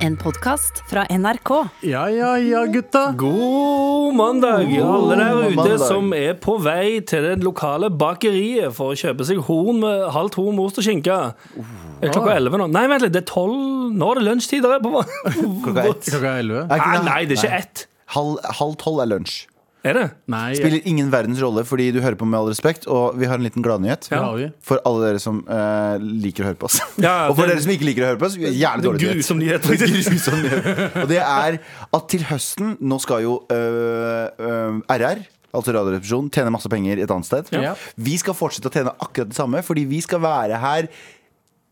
En podkast fra NRK. Ja, ja, ja, gutta. God mandag, alle der God ute mandag. som er på vei til det lokale bakeriet for å kjøpe seg horn med halvt horn med ost og skinke. Er det klokka elleve nå? Nei, vent litt, det er tolv. Nå er det lunsjtid. der på Ah, Klokka ett. Klokka er elleve. Er ikke Nei, det- nei, det er ikke ett. Halv, halv tolv er lunsj. Er det? Nei, jeg- Spiller ingen verdens rolle, fordi du hører på med all respekt. Og vi har en liten gladnyhet det har vi. for alle dere som eh, liker å høre på oss. Ja, og for det- dere som ikke liker å høre på oss, gjerne dårlig nyhet. Grusom nyhet, Det er faktisk. grusom nyhet. Og det er at til høsten Nå skal jo øh, øh, RR Altså radioresepsjonen tjene masse penger et annet sted Ja. Vi skal fortsette å tjene akkurat det samme Fordi vi skal være her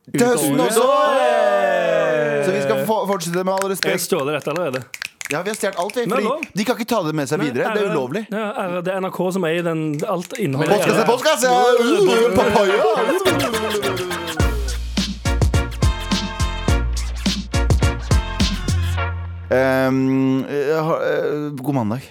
Til Ut høsten året. også Så vi skal få- fortsette med Jeg all har respekt stjålet dette allerede. Ja, vi har stjert alt vi Nei, Fordi lov. de kan ikke ta det med seg videre Det er ulovlig Ja, ære, det er NRK som eier den, alt innholdet. Postkasse, postkasse Mm. ja. Papaya Um, eh, ha- eh, god mandag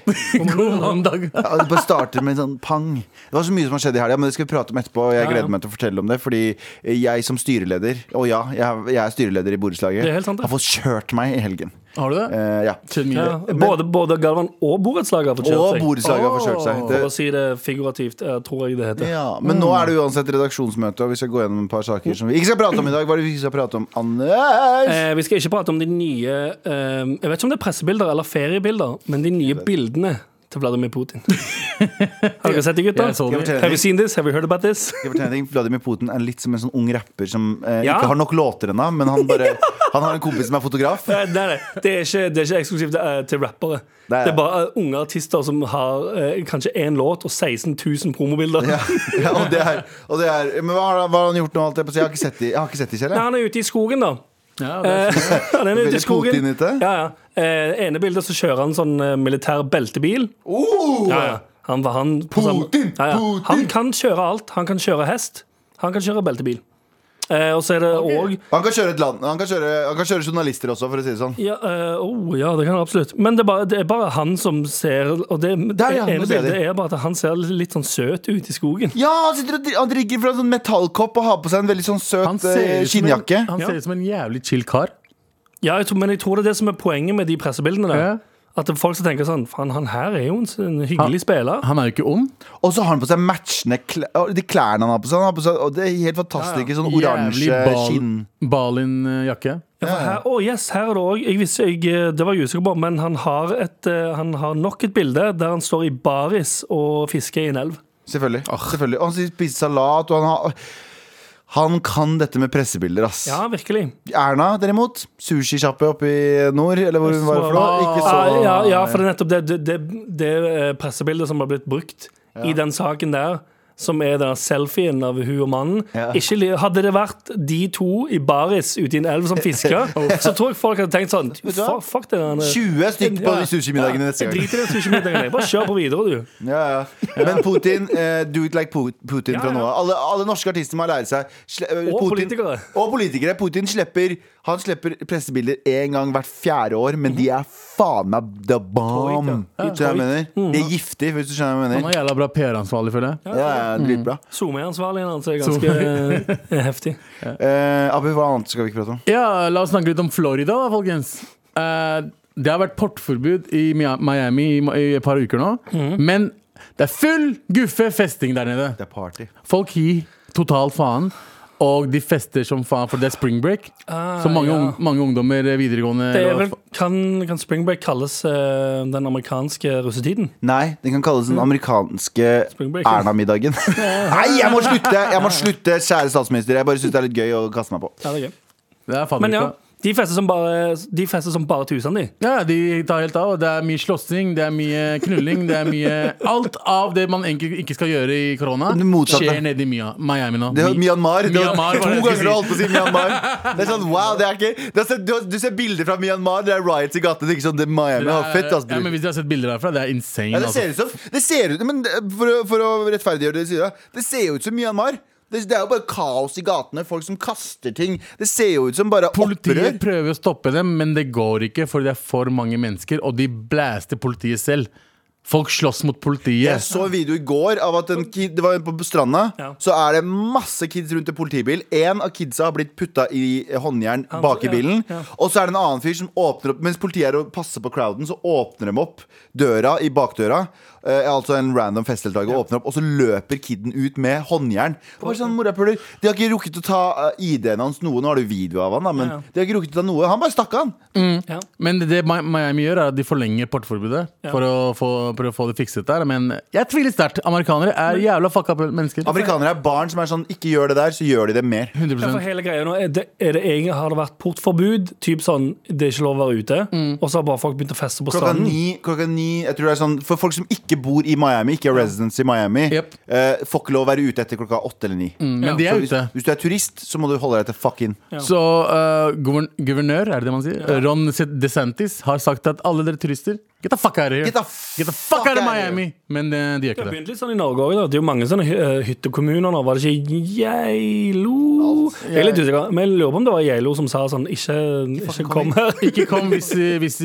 God mandag. Ja, det bare starter med en sånn pang. Det var så mye som har skjedd i helga, men det skal vi prate om etterpå. Og jeg Ja, ja. gleder meg til å fortelle om det, fordi eh, jeg som styreleder, og ja, jeg, jeg er Det styreleder i er borettslaget, helt sant, det. har fått kjørt meg i helgen. Har du det? Eh, ja. Skjedd mye. Ja, både, både Galvan og borettslaget har fått Og kjørt seg. borettslaget har fått kjørt seg. For å Det, si det figurativt, eh, tror jeg det heter. ja, men nå er det uansett redaksjonsmøte, og vi skal gå gjennom et par saker som vi ikke skal prate om i dag. Hva er det vi ikke skal prate om, Anders? Eh, vi skal ikke prate om de nye eh, Jeg vet ikke om det er pressebilder eller feriebilder, men de nye bildene til Vladimir Putin. Har dere sett de gutta? Jeg så det. Jeg forteller Have you deg. seen this? Have you heard about this? Skal jeg fortelle deg en ting? Vladimir Putin er litt som en sånn ung rapper som eh, Ja. ikke har nok låter ennå, men han, bare, han har en kompis som er fotograf. Eh, Nei, nei, det er ikke, det er ikke eksklusivt eh, til rappere. Nei. Det er bare eh, unge artister som har eh, kanskje én låt og 16 000 promobilder. Ja, ja og, det er, og det er Men hva har, hva har han gjort nå? Alt jeg, på å si? jeg har ikke sett de, jeg har ikke sett de selv. Nei, Jeg. han er ute i skogen, da. Ja, det er Eh, han er ute Veldig i skogen. Putin ute. Ja, ja. Eh, ene bildet så kjører han sånn eh, militær beltebil. Oh! Ja, ja. Han, var- han, Putin, ja, ja. Putin. han kan kjøre alt. Han kan kjøre hest. Han kan kjøre beltebil. Eh, og så er det òg Han kan kjøre et land Han kan kjøre, han kan kjøre journalister også, for å si det sånn. ja, eh, oh, ja, det kan han absolutt. Men det er bare, det er bare han som ser Og det, det Der, ja, nå ene ser jeg bildet det. er bare at han ser litt sånn søt ut i skogen. Ja, han sitter og dri- han drikker fra en sånn metallkopp og har på seg en veldig sånn Han søt eh, ser ut som en- skinnjakke. Han Ja. ser ut som en jævlig chill kar. Ja, jeg tror, Men jeg tror det er det som er poenget med de pressebildene. der. Ja. At det er folk som tenker sånn Faen, han her er jo en, s- en hyggelig spiller. Han er jo ikke ond. Og så har han på seg matchende klær, og de klærne han har på seg. Han har på seg og det er helt fantastiske sånn oransje skinn. Balin-jakke. Ja, for her, oh, yes, her er det også, jeg visste, jeg, eh, Det var jeg usikker på, men han har, et, eh, han har nok et bilde der han står i baris og fisker i en elv. Selvfølgelig. Selvfølgelig. Og han spiser salat, og han har Han kan dette med pressebilder, ass. Ja, virkelig. Erna, derimot, sushisjappe oppe i nord, eller hvor hun var fra. Ikke så Ah, Ja, ja, ja, for det er nettopp det, det, det, det eh, pressebildet som har blitt brukt i den saken der, som er den selfien av hun og mannen. Ja. Ikke, li- hadde det vært de to i baris ute i en elv som fisker, så tror jeg folk hadde tenkt sånn Fuck, fuck det der. 20 stykk på Ja. sushimiddagene neste Jeg gang. driter i den sushimiddagen. jeg. Bare kjør på videre, du. Ja, ja. Men Putin, eh, do it like Pu- Putin Ja, fra ja. nå av. Alle, alle norske artister må lære seg sle- eh, Og politikere. Og politikere. Putin slipper Han slipper pressebilder én gang hvert fjerde år, men de er faen meg the Detroit, bomb. ja. Mm. Skjønner du hva jeg mener? De er giftig, hvis du skjønner hva jeg Han mener. er jævla bra PR-ansvarlig, føler jeg. Ja, ja, Mm. dritbra. SoMe-ansvarligen hans er ganske eh, heftig. Eh, Abu, hva annet skal vi ikke prate om? Ja, la oss snakke litt om Florida, da, folkens. Eh, det har vært portforbud i Mia- Miami i, ma- i et par uker nå. Mhm. Men det er full guffe festing der nede. Det er party. Folk gir total faen. Og de fester som faen, for det er spring break. så mange, Ah, ja. ung, mange ungdommer eh, videregående Det er eller hva vel, fa- kan, kan spring break kalles eh, den amerikanske russetiden? Nei, den kan kalles den amerikanske Mm. Spring break. Erna-middagen. Nei, jeg må slutte! Jeg må slutte, kjære statsminister. Jeg bare syns det er litt gøy å kaste meg på. Ja, det er gøy. Det er Men faen ja, ikke. de fester som bare, de fester som bare tusene, de. Ja, de tar helt av. og Det er mye slåssing, det er mye knulling, det er mye Alt av det man egentlig ikke skal gjøre i korona, Det motsatte. skjer nede i Mia- Miami nå. Det er Myanmar. Det var Myanmar, var to det jeg ganger du skulle si. holdt på å si Myanmar. Det er sånn, wow, det er ikke Du, har sett, du, har- du ser bilder fra Myanmar, det er riots i gatene. Det er ikke sånn, det er Miami har fett, ass, ja, men bror. Hvis dere har sett bilder derfra, det er insane. Ja, det altså. ser ut som det ser ut, Men det- for, å- for å rettferdiggjøre det du sier, da, det ser jo ut som Myanmar. Det, det er jo bare kaos i gatene, folk som kaster ting. Det ser jo ut som bare Politiet opprør. prøver å stoppe dem, men det går ikke, for det er for mange mennesker, og de blaster politiet selv. Folk slåss mot politiet. Jeg så en video i går av at en kid, det var en på stranda. Ja. Så er det masse kids rundt en politibil. Én av kidsa har blitt putta i håndjern Han- bak i ja, bilen. ja. Og så er det en annen fyr som åpner opp Mens politiet er og passer på crowden, så åpner de opp døra i bakdøra. Eh, altså en random festdeltaker åpner opp, og så løper kiden ut med håndjern. Og bare sånn, morapuler, De har ikke rukket å ta eh, ID-en hans noe. Nå har du video av han da, men Ja, ja. de har ikke rukket å ta noe. Han bare stakk, han. Ja. Men det Mi- Miami gjør, er at de forlenger portforbudet Ja. for, å få, for å få det fikset der. Men jeg tviler sterkt. Amerikanere er jævla fucka mennesker. Amerikanere er barn som er sånn Ikke gjør det der, så gjør de det mer. Ja, for 100 hele greia nå er det, er det egentlig, Har det vært portforbud? Typ sånn, Det er ikke lov å være ute. Og så har bare folk begynt å feste på Klokka stranden. ni, klokka ni jeg tror det er sånn, For folk som ikke bor i Miami, ikke er residents i Miami, Jep. Mm, eh, får ikke lov å være ute etter klokka åtte eller ni. Men de Så er hvis, ute. hvis du er turist, så må du holde deg til fuck in. Ja. Så eh, guvern guvernør, er det det man sier? Ron DeSantis har sagt at alle dere turister Get the fuck out of here! Get the fuck out of out of here. Miami! Men eh, de gjør Det ikke har det. begynt litt sånn i Norge òg. Det er jo mange sånne hy- eh, hyttekommuner nå. Var det ikke Geilo? Jeg er litt usikker, men jeg lurer på om det var Geilo som sa sånn Ikke, ikke kom her. Ikke kom hvis, hvis,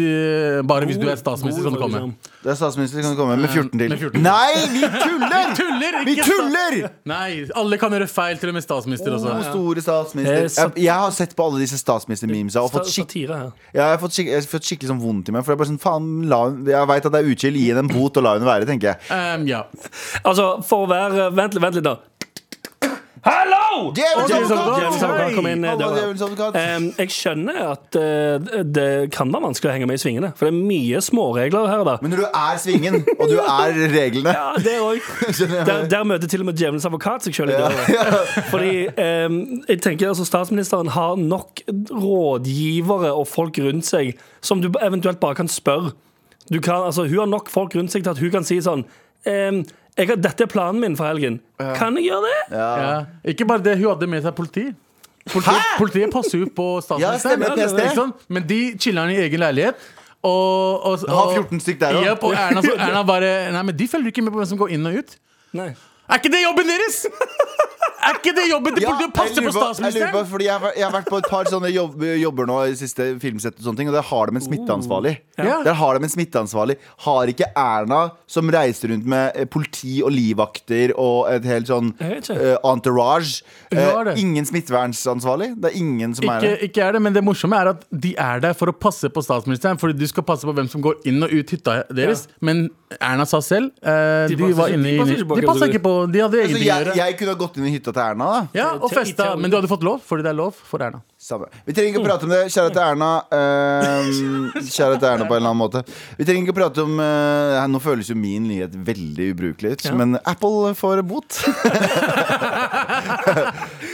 bare hvis du er statsminister, kan du komme. Liksom. Det er statsminister som kan komme med 14 til. med 14 til. Nei, vi tuller! Tuller! Vi Ikke sta- tuller! Nei, alle kan gjøre feil, til og med statsminister Å, også. store Eh, statsminister. sat- Jeg, jeg har sett på alle disse statsminister-memesa og Sa- fått skikk- Satire her. jeg har fått, skikk, jeg har fått skikkelig sånn vondt i meg. For Jeg, bare sånn, faen, la, hun- jeg vet at det er utskill, gi henne en bot og la henne være, tenker jeg. Um, ja. Altså, for å være Vent litt, vent litt, da. Hallo! Sånn, Djevelens Djevelens advokat! Djevelens advokat kom inn eh, Hei! Hallo, døra. djevelens advokat. Em, jeg skjønner at eh, det kan være vanskelig å henge med i svingene, for det er mye småregler her og der. Men når du er svingen, og du er reglene Ja, det også. Skjønner jeg. Der, der møter til og med djevelens advokat seg sjøl i døra. Fordi em, jeg tenker altså statsministeren har nok rådgivere og folk rundt seg som du eventuelt bare kan spørre. Du kan, altså, hun har nok folk rundt seg til at hun kan si sånn em, jeg har, 'Dette er planen min for helgen. Kan jeg gjøre det?' Ja. Ikke bare det, hun hadde med seg politi. Politiet, politiet passer jo på Ja, statsministeren. stemmer, PST. Ikke sant? Men de chiller'n i egen leilighet. Og, og, og, Har 14 stykk der også. Jep, og Erna, så Erna bare Nei, men de følger ikke med på hvem som går inn og ut. Nei. Er ikke det jobben deres?! Er ikke det jobben? De Ja, burde jo passe på jeg lurer Jeg, lurer statsministeren! på, fordi jeg, har- jeg har vært på et par sånne jobb, jobber nå i siste filmsett, og sånne ting Og der har de en smitteansvarlig. Oh. Ja. Der har de en smitteansvarlig Har ikke Erna, som reiser rundt med eh, politi og livvakter og et helt sånn Jeg vet ikke. eh, entourage, eh, har det. ingen smittevernsansvarlig? Det er ingen som er Ikke, det. ikke er det, men det morsomme er at de er der for å passe på statsministeren. Fordi du skal passe på hvem som går inn og ut hytta deres. Men Erna sa selv eh, De De, passer var ikke- inne de i passer ikke på De passa ikke på. De hadde Så ingenting å Altså, jeg, gjøre. jeg kunne ha gått inn i hytta til Erna, da. Ja, Til- og til- festa. til- Men du hadde fått lov, fordi det er lov for Erna. Samme. Vi trenger ikke å prate om det. Kjære til Erna. eh, kjære til Erna på en eller annen måte. Vi trenger ikke å prate om eh, Nå føles jo min nyhet veldig ubrukelig ut, Ja. men Apple får bot.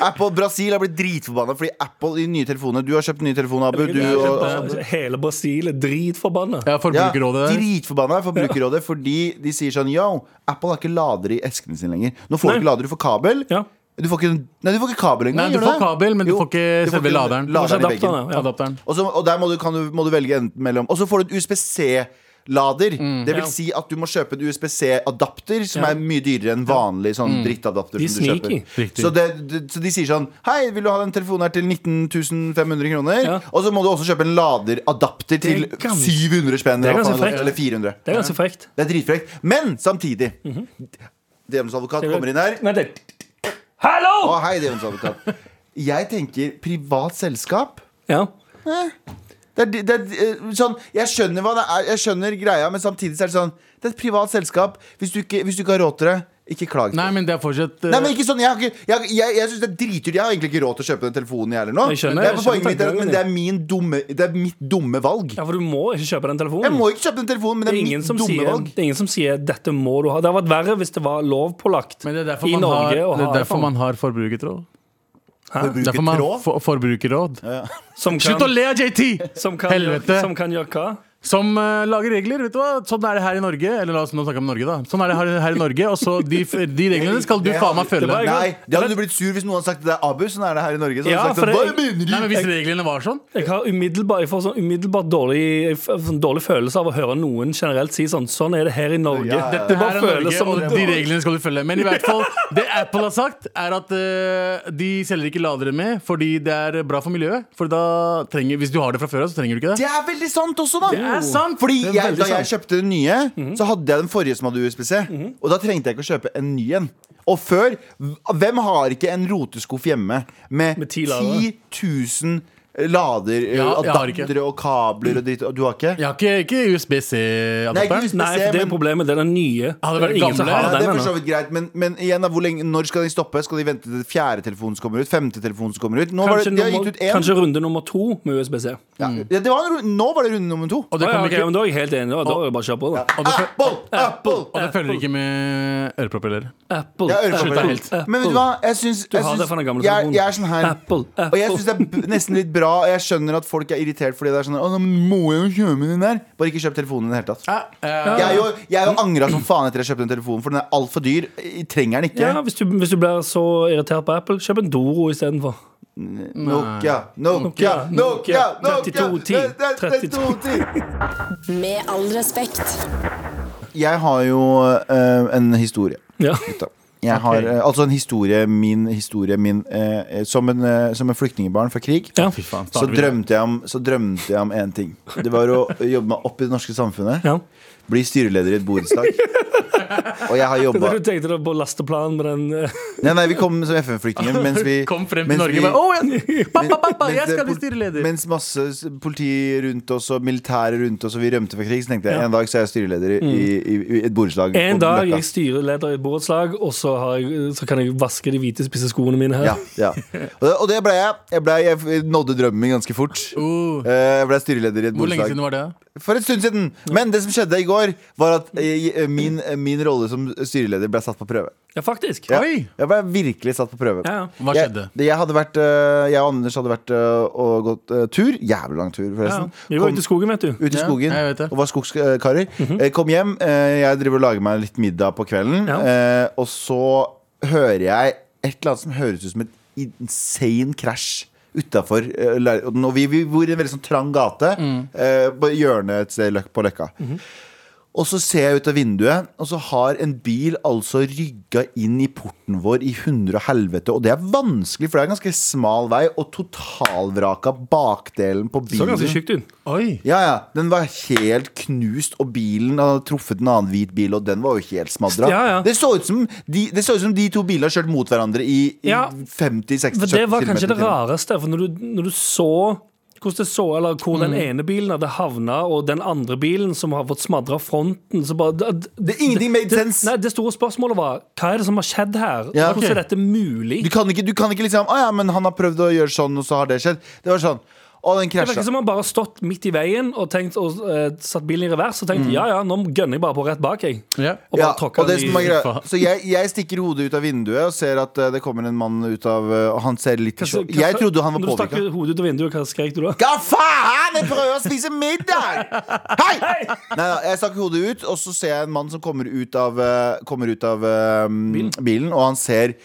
Apple Brasil har blitt dritforbanna fordi Apple i nye telefoner Du har kjøpt nye telefoner, Abu. Du, og, altså, Hele Brasil er dritforbanna. Ja, ja, eh, Forbrukerrådet der. dritforbanna Forbrukerrådet fordi de sier sånn Yo, Apple har ikke lader i eskene sine lenger. Nå får Nei. du ikke lader, du får kabel. Ja. Du får ikke, nei, du får ikke kabel engang. Nei, du gjør får det? kabel, men du Jo, får ikke selve laderen. laderen i veggen. Adapteren, ja. Adapteren. Og, så, og der må du, kan du, må du velge enten mellom Og så får du en USBC-lader. det Mm. vil Ja. si at du må kjøpe en USBC-adapter, som Ja. Mm. er mye dyrere enn vanlig sånn drittadapter. De som du kjøper. sneaky. Riktig. Så, det, det, så de sier sånn Hei, vil du ha den telefonen her til 19 500 kroner? Ja. Og så må du også kjøpe en laderadapter til Det er gans- 700 spenn. Det er eller hva ganske faen det frekt. er, Eller 400. Det er ganske frekt. Det er dritfrekt. Men samtidig Mhm. Djevelens advokat kommer inn her. Vent litt. Hallo! Å, hei, djevelens advokat. Jeg tenker privat selskap. Ja. Det er, det er, eh, sånn, jeg skjønner hva det er, jeg skjønner greia, men samtidig så er det sånn Det er et privat selskap. Hvis du ikke, hvis du ikke har råd til det, ikke klag. Nei, men det er fortsatt eh, Nei, men ikke sånn, Jeg, har ikke- jeg, jeg, jeg syns det er dritdyrt. Jeg har egentlig ikke råd til å kjøpe den telefonen jeg heller nå. Jeg skjønner, Men det er på jeg skjønner poenget mitt, er at- tankegangen men det er, min dumme, det er mitt dumme valg. ja, for du må ikke kjøpe den telefonen. Jeg må ikke kjøpe den telefonen, men det det er, er ingen mitt som dumme sier, valg. det er ingen som sier 'dette må du ha'. Det hadde vært verre hvis det var lovpålagt men det er derfor i man har, Norge å det ha er derfor iPhone. man har forbrukerråd. Forbruker Derfor man tråd. for, forbrukerråd. Som kan, Slutt å le av JT! som kan, Helvete. Gjøre, som kan gjøre hva? Som eh, lager regler, vet du hva. Sånn er det her i Norge. Eller la oss nå snakke om Norge, da. Sånn er det her, her i Norge, og så de, f- de reglene skal du Det faen meg hadde- følge. var- Nei, det hadde du blitt sur hvis noen hadde sagt det er Abu. Sånn er det her i Norge. Så hadde Ja, du sagt sånn, for Hva det- mener Nei, men du? Hvis reglene var sånn Jeg, har umiddelbar, jeg får sånn umiddelbart dårlig, jeg f- sånn dårlig følelse av å høre noen generelt si sånn 'sånn er det her i Norge'. Ja, ja, ja. Det Her bare er Norge, føles som og de reglene skal du følge. Men i hvert fall, det Apple har sagt, er at eh, de selger ikke ladere med fordi det er bra for miljøet. For da trenger, Hvis du har det fra før av, så trenger du ikke det. Det er veldig sant også, da! Det er er sant! Mhm. Fordi Det er jeg, veldig da jeg sant. kjøpte den nye, så hadde jeg den forrige som hadde USB-C. Mhm. Og da trengte jeg ikke å kjøpe en ny en. Og før Hvem har ikke en roteskuff hjemme med, Med ti 10 ladere? 000 lader, eh, Ja, jeg har ikke. adaptere og kabler og dritt? Og du har ikke? Jeg har ikke, ikke Nei, ikke USBC-adapteren. USB-C, Nei, for det er men- problemet. Den er nye. Ja, det var ingen som gamle. har Ja, den det er for ennå. så vidt greit, men, men igjen da, hvor lenge, når skal de stoppe? Skal de vente til fjerde telefonen som kommer ut? Femte telefonen som kommer ut? Nå var Kanskje, det, de har gitt nummer, ut én. kanskje runde nummer to med USBC. Ja. Ja, det var en ru- nå var det runde nummer to. Og det Å ja, kommer ok, ikke, men Da er jeg helt enig. Da, da er det bare å kjøre på, da. og det, føl- Apple! Apple! og det følger ikke med øreproppeller. Apple. Jeg har Slutt øreproppene. deg Apple. helt. Apple. Men vet du hva? Jeg syns jeg, har det syns- fra den gamle jeg, telefonen. jeg er sånn her Apple, Og jeg Apple. syns det er b- nesten litt bra. Og jeg skjønner at folk er irritert fordi det er sånn Å, nå må jeg jo kjøpe den der. Bare ikke kjøp telefonen i det hele tatt. Ja, eh, Jeg er jo, jeg er jo angra som faen etter jeg kjøpte den telefonen, for den er altfor dyr. Jeg trenger den Ja, ikke. hvis du, hvis du blir så irritert på Apple, kjøp en Doro istedenfor. Nokia, Nokia, Nokia, Nokia, Nokia, 3210, eh, eh, 3210. 3210. Med all respekt. Jeg har jo eh, en historie. Ja. gutta. Jeg har, eh, altså en historie min, historie min eh, eh, som, en, eh, som en flyktningbarn fra krig Ja. Fy faen, så starter vi drømte, jeg om, så drømte jeg om én ting. Det var å jobbe meg opp i det norske samfunnet. Ja. Bli styreleder i et borettslag. Og jeg har Da jobba du tenkte deg på lasteplan med den eh, Nei, nei, vi kom som FN-flyktninger mens vi Kom frem til mens Norge vi- og bare Å, jeg, men- pappa, pappa, mens jeg skal det- bli styreleder! Mens masse s- politi rundt oss og militære rundt oss, og vi rømte fra krig, så tenkte jeg en dag så er jeg styreleder i, i, i et borettslag. En på dag Løkka. jeg styrer leder i et borettslag, og så, har jeg, så kan jeg vaske de hvite spisse skoene mine her. Ja, ja. Og det, og det ble jeg. Jeg, ble, jeg nådde drømmen min ganske fort. Oh. Eh, Jeg ble styreleder i et Hvor lenge borettslag. siden var det? For en stund siden! Men det som skjedde i går, var at eh, min, min rolle som styreleder ble satt på prøve. Ja, faktisk. Ja. Oi! Jeg ble virkelig satt på prøve. Ja, ja. Hva skjedde? Jeg, jeg, hadde vært, eh, jeg og Anders hadde vært eh, og gått eh, tur. Jævlig lang tur, Ja. forresten. Vi var Kom- ute i skogen, vet du. Ute i Ja, skogen jeg vet det. og var skogskarer. Eh, Kom hjem, eh, jeg driver og lager meg litt middag på kvelden. Ja. eh, Og så hører jeg et eller annet som høres ut som et insane crash utafor. Og vi, vi bor i en veldig sånn trang gate, eh, på hjørnet et sted løk- på Løkka. Og så ser jeg ut av vinduet, og så har en bil altså rygga inn i porten vår i hundre og helvete. Og det er vanskelig, for det er en ganske smal vei, og totalvraka bakdelen på Så ganske bilen. tjukt ut. Oi! Ja, ja, den var helt knust Og bilen hadde truffet en annen hvit bil Og den var jo helt smadret Ja, ja. Det, så ut som de, det så ut som de to bilene har kjørt mot hverandre I, i Ja. 50-60 For det var kanskje det kilometer i timen. rareste, for når du, når du så hvordan det så, eller hvor den Mm. ene bilen hadde havna, og den andre bilen som har fått smadra fronten så bare, det, Det er ingenting made sense. Nei, det store spørsmålet var hva er det som har skjedd her? Ja, Hvordan ok. er dette mulig? du kan, ikke, du kan ikke liksom Å ja, men han har prøvd å gjøre sånn Og så har det skjedd Det var sånn Å, den Det virker krasjet som han bare har stått midt i veien og, tenkt, og eh, satt bilen i revers og tenkt ja, ja, nå gønner jeg bare på rett bak, jeg. Ja. Og bare ja, tråkka og det den som er i greia- Så jeg, jeg stikker hodet ut av vinduet Og ser at eh, det kommer en mann ut av eh, Og han ser litt Hva- hva- Jeg trodde han var Når du stakk påvirket hodet ut av vinduet, hva skrek du da? Hva faen? Jeg prøver å spise middag! Hei! Neida, jeg stakk hodet ut, og så ser jeg en mann som kommer ut av, eh, kommer ut av eh, bilen, og han ser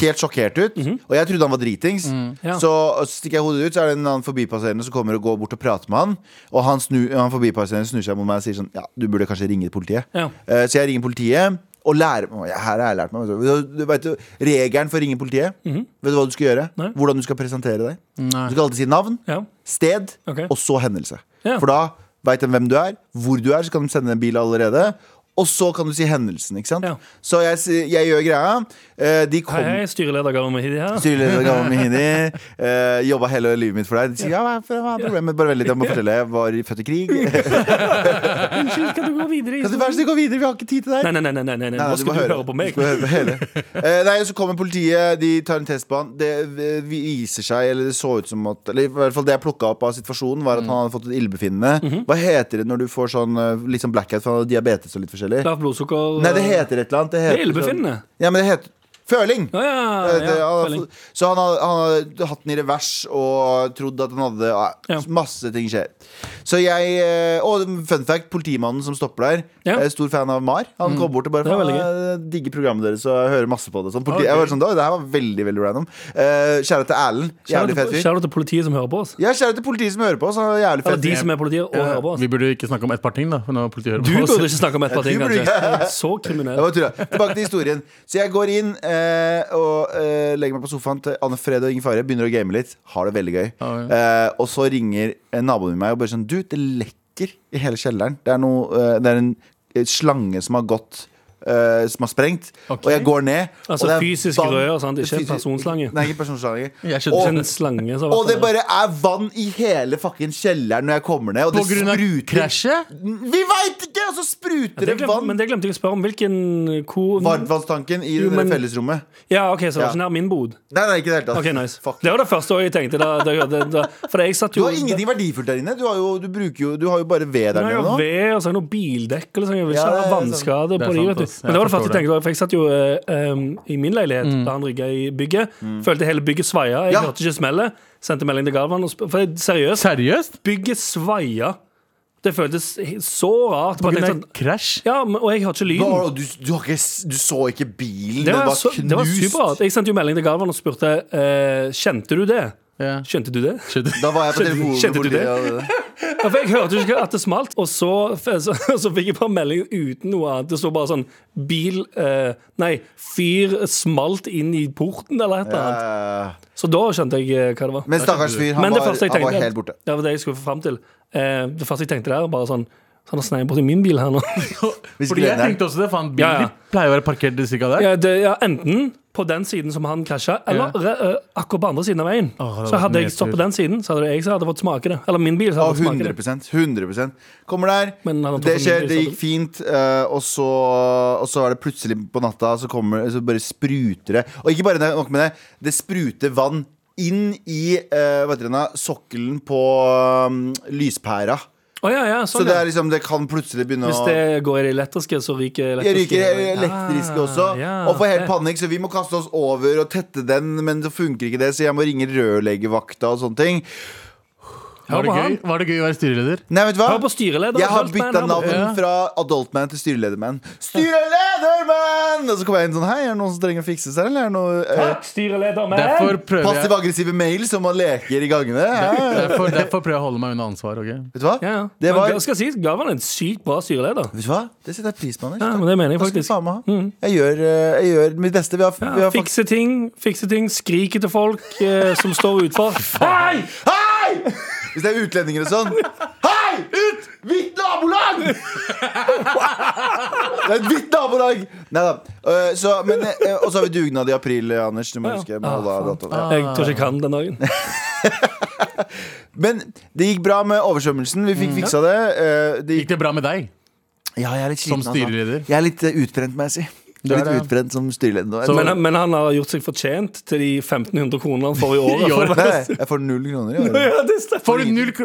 Helt sjokkert ut, og jeg trodde han var dritings. Ja. Så stikker jeg hodet ut, så er det en annen forbipasserende som kommer og går bort og prater med han. Og han, snu, han forbipasserende snur seg mot meg og sier sånn Ja, du burde kanskje ringe politiet. Ja. Eh, Så jeg ringer politiet, og lærer Å, ja, Her har jeg lært meg. vet du. Du vet jo, Regelen for å ringe politiet, vet du hva du skal gjøre? Nei. Hvordan du skal presentere deg. Nei. Du skal alltid si navn Ja. sted, Ok. og så hendelse. Ja. For da veit de hvem du er, hvor du er, så kan de sende en bil allerede. Og så kan du si hendelsen, ikke sant? Ja. Så jeg, s- jeg gjør greia. Eh, De kom Hei, hei, styreleder Garamahidi her. Styreleder Gamma Mihini. Eh, jobba hele livet mitt for deg. De sier, ja, hva hva er problemet? Bare vent litt, jeg må fortelle. Jeg var i- født i krig. Kan Unnskyld, kan du gå videre? i du være så snill gå videre? Vi har ikke tid til deg. Nei, nei, nei, nei, nei, nei, Nei, nå nei, skal må du høre på meg. Du må høre på hele. Eh, nei, så kommer politiet, de tar en test på han. Det eh, viser seg, eller det så ut som at Eller i hvert fall det jeg plukka opp av situasjonen, var Mhm. at han hadde fått et illebefinnende. Hva heter det når du får sånn eh, litt sånn blackout, for han hadde diabetes og litt forskjellig? Lavt blodsukker eh, Nei, det heter et eller annet. Det, Det heter, sånn- er illebefinnende. Ja, men det heter Føling! Å ja, Det- Eh, det- altså, ja, han hadde føling. fått- så han hadde, han hadde hatt den i revers og trodd at han hadde Ja. ja. Masse ting skjer. Så jeg eh, Og fun fact, politimannen som stopper der, Ja. Mm. er stor fan av Mar. Han kom bort og bare Det er veldig Ah, «Faen, jeg digger programmet deres og jeg hører masse på det. Sånn. Ok. Politi, jeg var sånn, «Oi, Det her var veldig veldig random. Eh, kjære til Erlend. Kjære Jævlig fet til- fyr. kjære til politiet som hører på oss. Ja, kjære til politiet som hører på oss. Han er jævlig Eller fet. de fyr. som er politiet og hører på oss. Vi burde ikke snakke om et par ting, da. Når politiet hører Du på oss. burde ikke snakke om et par ting, du burde kanskje. Så Det kriminell. var tull, ja. Tilbake til historien. Så jeg går inn eh, og eh, legger meg på sofaen til Anne Fred og Ingen Fare. Begynner å game litt. Har det veldig gøy. Ja, ja. Eh, og så ringer eh, naboen min meg og bare sånn Du, det lekker sprekker i hele kjelleren. Det er, noe, eh, det er en eh, slange som har gått eh, Som har sprengt. Ok. Og jeg går ned. Altså og det er fysisk vann- rød og sånt, ikke en Fysi- personslange. Nei, ikke personslange. Jeg skjønner. Og, En slange som har og vært det der. bare er vann i hele fucking kjelleren når jeg kommer ned. Og På det grunn av spruter krasjet? Vi veit ikke! Og så spruter det det glemte, vann. Men det glemte jeg å spørre om. Hvilken hvor Varmtvannstanken i Jo, det men- fellesrommet. Ja, ok, Så det Ja. var ikke nær min bod. Nei, nei, ikke i det hele tatt. Ok, nice Fuck. Det var det første jeg tenkte. Da, da, da, da, for jeg satt Du jo har ingenting verdifullt der inne. Du har jo, du bruker jo, du har jo bare ved Nå der har jeg nede jo nå. ved og så har jeg noe bildekk. Eller sånn. Jeg vil Ja, ikke det ha er vannskade sant. på Det de. er sant, Vet du. ass. Jeg Men det forstår var det Mm. første jeg tenkte. da, For jeg satt jo eh, em, i min leilighet da han rygga i bygget. Følte hele bygget svaia. Jeg Mm. Ja. hørte ikke smellet. Sendte melding til Galvan. Og sp for jeg, seriøst, Seriøst? bygget svaia. Det føltes he- så rart. På Bare grunn tenkte av sånn, krasj? ja, men, og jeg hørte ikke Hva lyden. var det? Du, du, har ikke, s- du så ikke bilen, Det den var, var så, det var knust. superrart. Jeg sendte jo melding til Galvan og spurte eh, Kjente du det. Ja. Skjønte du det? Skjønner du? Da var jeg på Skjønte- telefonen med skjønte du det? politiet, og- Ja, for jeg hørte jo ikke at det smalt. Og så, så, så fikk jeg bare melding uten noe annet. Det sto bare sånn Bil eh, Nei, fyr smalt inn i porten, eller et eller annet. Eh, Så da skjønte jeg eh, hva det var. Men stakkars fyr, han, Men det var, første jeg han var tenkte helt borte. Det var det jeg skulle fram til. Eh, det første jeg tenkte der, var bare sånn Han har sneia borti min bil her nå. Hvis Fordi jeg gleden er- tenkte også det, faen, bilen Ja, ja. din pleier å være parkert cirka der. ja, det, ja, enten på den siden som han krasja, Ja. eller re- eh, akkurat på andre siden av veien. Åh, det så hadde vært hadde jeg nedtur. stått på den siden, så hadde det jeg som hadde fått smake det. Eller min bil. Så Ja, hadde fått smake det. 100 100 Kommer der, Men han har det tatt en skjer, ny det bil, gikk fint, eh, og, så, og så er det plutselig på natta, så, kommer, så bare spruter det. Og ikke bare det, nok med det, det spruter vann inn i eh, hva heter det, nå, sokkelen på um, lyspæra. Å, ja, ja, Så sånn, det ja. er liksom, det kan plutselig begynne Hvis å det går i det elektriske, så ryker jeg ryker elektriske. elektriske Ah, også, ja, og får helt det- panikk, så vi må kaste oss over og tette den, men så funker ikke det, så jeg må ringe rørlegevakta og sånne ting. Var, det Hør på han. gøy? var det gøy å være styreleder? Nei, vet du hva? Hør på styreleder. Jeg har Adult man bytta her navn borte. Ja. fra Adultman til styrelederman. Styrelederman! Og så kommer jeg inn sånn Hei, er det noen som trenger å fikse seg, eller er det noe eh, Takk, styreleder. men- Derfor prøver jeg passiv-aggressive mail som man leker i gangene? Hæ? derfor, derfor prøver jeg å holde meg unna ansvar. ok? Vet du hva? Ja, ja. Det var Men, skal jeg si, Gavan er en sykt bra styreleder. Vet du hva? Det setter jeg pris på, Anders. Ja, men det mener jeg Da skal du faktisk. Mm. faen meg ha. Jeg, gjør, eh, jeg gjør mitt beste. Vi har, vi Ja, har faktisk fikse ting, fikse ting, skrike til folk eh, som står utfor. Hei! Hei! Hvis det er utlendinger og sånn. Hei! Ut! Hvitt nabolag! Det er et hvitt nabolag! Nei da. Eh, så, men, eh, og så har vi dugnad i april, eh, Anders. Du må Ja. huske. jeg må holde av datoen. Ja. Jeg tror ikke jeg kan den dagen. Men det gikk bra med oversvømmelsen. Vi fikk fiksa det. Eh, det Gikk det bra med deg? Mm. ja, jeg er litt Som sliten, altså. styreleder? Jeg er litt eh, utbrent, må jeg si. Jeg er er litt det, utbrent som styreleder nå. Så- Men, eh, Men, men han har gjort seg fortjent til de 1500 kronene han får i året. I året. nei, jeg får null kroner i året. Ja, det stemmer. Får du null kro...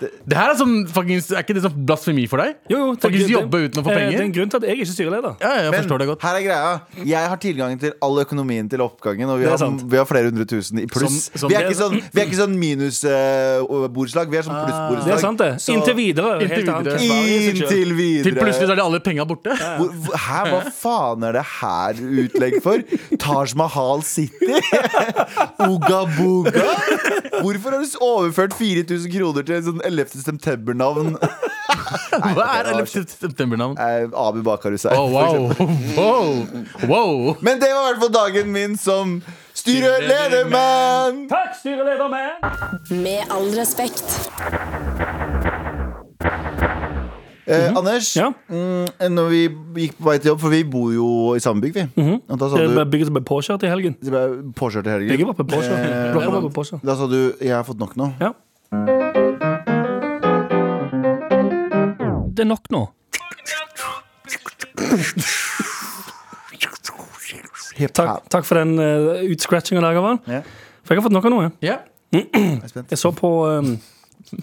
Det her er sånn fuckings Er ikke det sånn blasfemi for deg? Jo, jo, det er Faktisk grunn- jobbe uten å få eh, penger? Det er en grunn til at jeg ikke er styreleder. Ja, jeg Men forstår det godt. her er greia. Jeg har tilgang til all økonomien til oppgangen, og vi, Det er har, sant. vi har flere hundre tusen i pluss. Som- som- vi er ikke sånn, vi er ikke sånn minusborettslag, vi er sånn plussborettslag. Det er sant, det. Så- Inntil videre. Inntil helt annet. videre. Inntil- Inntil videre. Til plutselig så er de alle penga borte. Hvor, hvor- hæ, hva faen er det her utlegg for? Taj Mahal City? Uga Buga? Hvorfor har du overført 4000 kroner til en sånn 11. september-navn? Hva ok, er det var 11. september-navn? Eh, Abu Bakar Hussein. Oh, for eksempel. wow. wow. wow. Men det var i hvert fall dagen min som styreledermann! Takk, styreleder man! Med all respekt. Eh, Anders, Mhm. Ja. mm, når vi gikk på vei til jobb, for vi bor jo i samme bygg, vi. Og da sa Mhm. Det du er bygget som ble påkjørt i helgen. Det ble påkjørt i helgen. Begge var på påkjørt. Eh, Blokka var på påkjørt. Da sa du 'jeg har fått nok nå'. Ja. Det er nok nå. Helt Takk, takk for den uh, utscratchinga der, Gavan. Ja. For jeg har fått nok av noe. Ja. Jeg er spent. Jeg så på, um,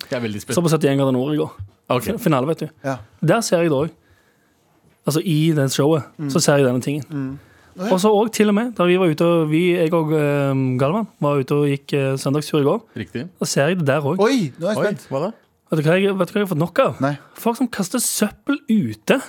Jeg er veldig så spent. på 71 grader nord i går. Ok. Finale, vet du. Ja. Der ser jeg det òg. Altså i det showet Mm. så ser jeg denne tingen. Og så òg til og med da vi var ute og vi, jeg og eh, Galvan var ute og gikk eh, søndagstur i går, Riktig. da ser jeg det der òg. Oi, nå er jeg Oi, spent. hva da? Vet, du hva jeg- vet du hva jeg har fått nok av? Nei. Folk som kaster søppel ute.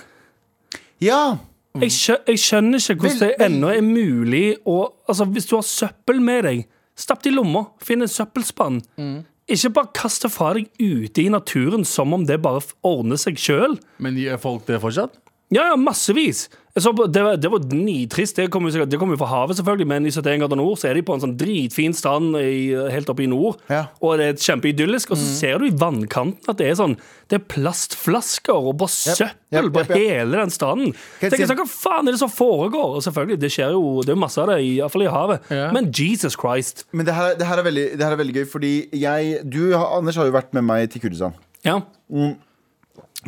Ja! Jeg, skjø, jeg skjønner ikke hvordan det Mm. Vel- ennå vel- er mulig å Altså, hvis du har søppel med deg, stapp det i lomma. Finn en søppelspann. Mm. Ikke bare kast det fra deg ute i naturen som om det bare f- ordner seg sjøl. Men gjør folk det fortsatt? Ja, ja, massevis. Jeg Jeg så på, det, var, det var nitrist. Det kommer jo sikkert- det kommer jo fra havet, selvfølgelig, men i 71 grader nord så er de på en sånn dritfin strand i, helt oppe i nord. Ja. Mhm. Og det er kjempeidyllisk. Og så ser du i vannkanten at det er sånn Det er plastflasker og bare søppel jep, på jep, jep. hele den stranden. jeg Tenk, si- sånn, Hva faen er det som foregår? Og selvfølgelig, det skjer jo Det er jo masse av det, iallfall i havet. Ja. Men Jesus Christ. Men det her, er- det, her er veldig, det her er veldig gøy, fordi jeg Du, Anders, har jo vært med meg til Kurdistan. Ja.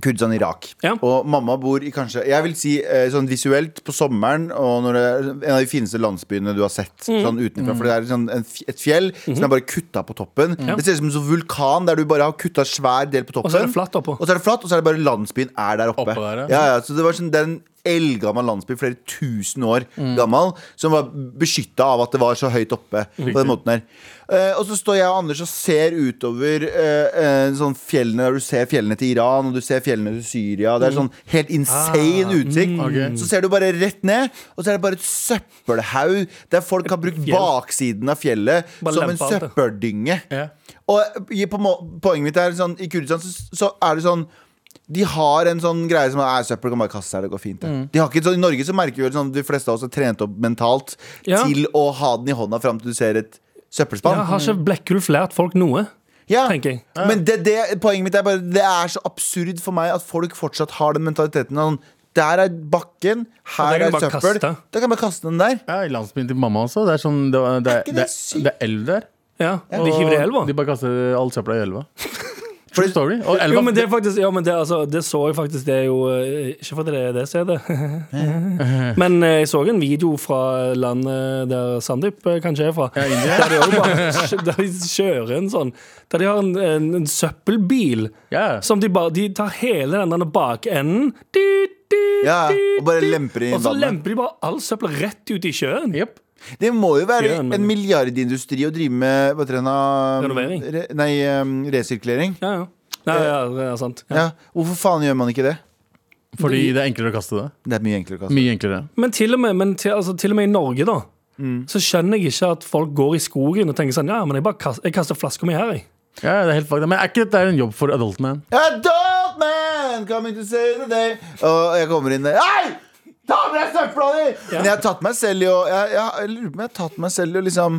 Kurdistan Irak. Ja. Og mamma bor i kanskje Jeg vil si eh, sånn visuelt på sommeren og når det er en av de fineste landsbyene du har sett. Mm. Sånn utenfra, For det er sånn en, f- et fjell Mhm. som er bare kutta på toppen. Det ser ut som en sånn vulkan der du bare har kutta svær del på toppen. så er det flatt oppå. Og så er det flatt, og så er det bare landsbyen er der oppe. Oppå der, ja. ja, ja, så det var sånn, det er en eldgammel landsby, flere tusen år Mm. gammel, som var beskytta av at det var så høyt oppe. På den måten her Eh, Og så står jeg og Anders og ser utover eh, eh, sånn fjellene der du ser fjellene til Iran og du ser fjellene til Syria. Det er Mm. sånn helt insane Ah, utsikt. Så ser du bare rett ned, og så er det bare et søppelhaug der folk har brukt fjell. baksiden av fjellet Bare som lempe en alt, ja. søppeldynge. Ja. Og i- på må- poenget mitt er sånn, I Kurdistan så, så er det sånn de har en sånn greie som er søppel kan bare kaste her, det går fint. det». Mm. De har ikke, sånn, I Norge så merker vi jo sånn, de fleste av oss er trent opp mentalt Ja. til å ha den i hånda fram til du ser et søppelspann. Ja, har ikke Blekkulf lært folk noe? Ja. tenker jeg. Men det, det, poenget mitt er bare det er så absurd for meg at folk fortsatt har den mentaliteten. av Sånn, der er bakken, Og der her kan er du bare søppel. kaste. Da kan jeg bare kaste den der. Ja, I landsbyen til mamma også. Det er sånn Det, var- det, Er ikke er- det det, sykt? det er elv der. Ja, De hiver det i elva? De bare kaster all søpla i elva. True story. Og elva Jo, men det er faktisk Ja, men det, altså, det så jeg faktisk Det er jo eh, Ikke fordi det er det stedet Men eh, jeg så en video fra landet der Sandeep eh, kanskje er fra Der de også bare Der de kjører en sånn Der de har en, en, en søppelbil Ja. Som de bare De tar hele den der bakenden dyt, dyt, Ja, dyt, og bare dyt, lemper det i Og så vannet. lemper de bare all søppel rett ut i sjøen Jep. Det må jo være Gjør den, en men- milliardindustri å drive med hva heter det, na- Renovering. Re, nei, um, resirkulering. Ja, ja Nei, ja, det er sant ja. Ja. Hvorfor faen gjør man ikke det? Fordi det er enklere å kaste det. Det er mye enklere å kaste. Mye enklere. Men til og med, men til, altså, til og med i Norge, da. Så skjønner jeg ikke at folk går i skogen og tenker sånn Ja, men jeg bare kaster, jeg kaster flaska mi her, jeg. Ja, det er helt fucked. Men er ikke dette en jobb for adult man? Adult man coming to save the day. Og jeg kommer inn der. Hei! Ta med deg søpla di! Men jeg har tatt meg selv i å jeg, jeg, jeg lurer på om jeg har tatt meg selv i å liksom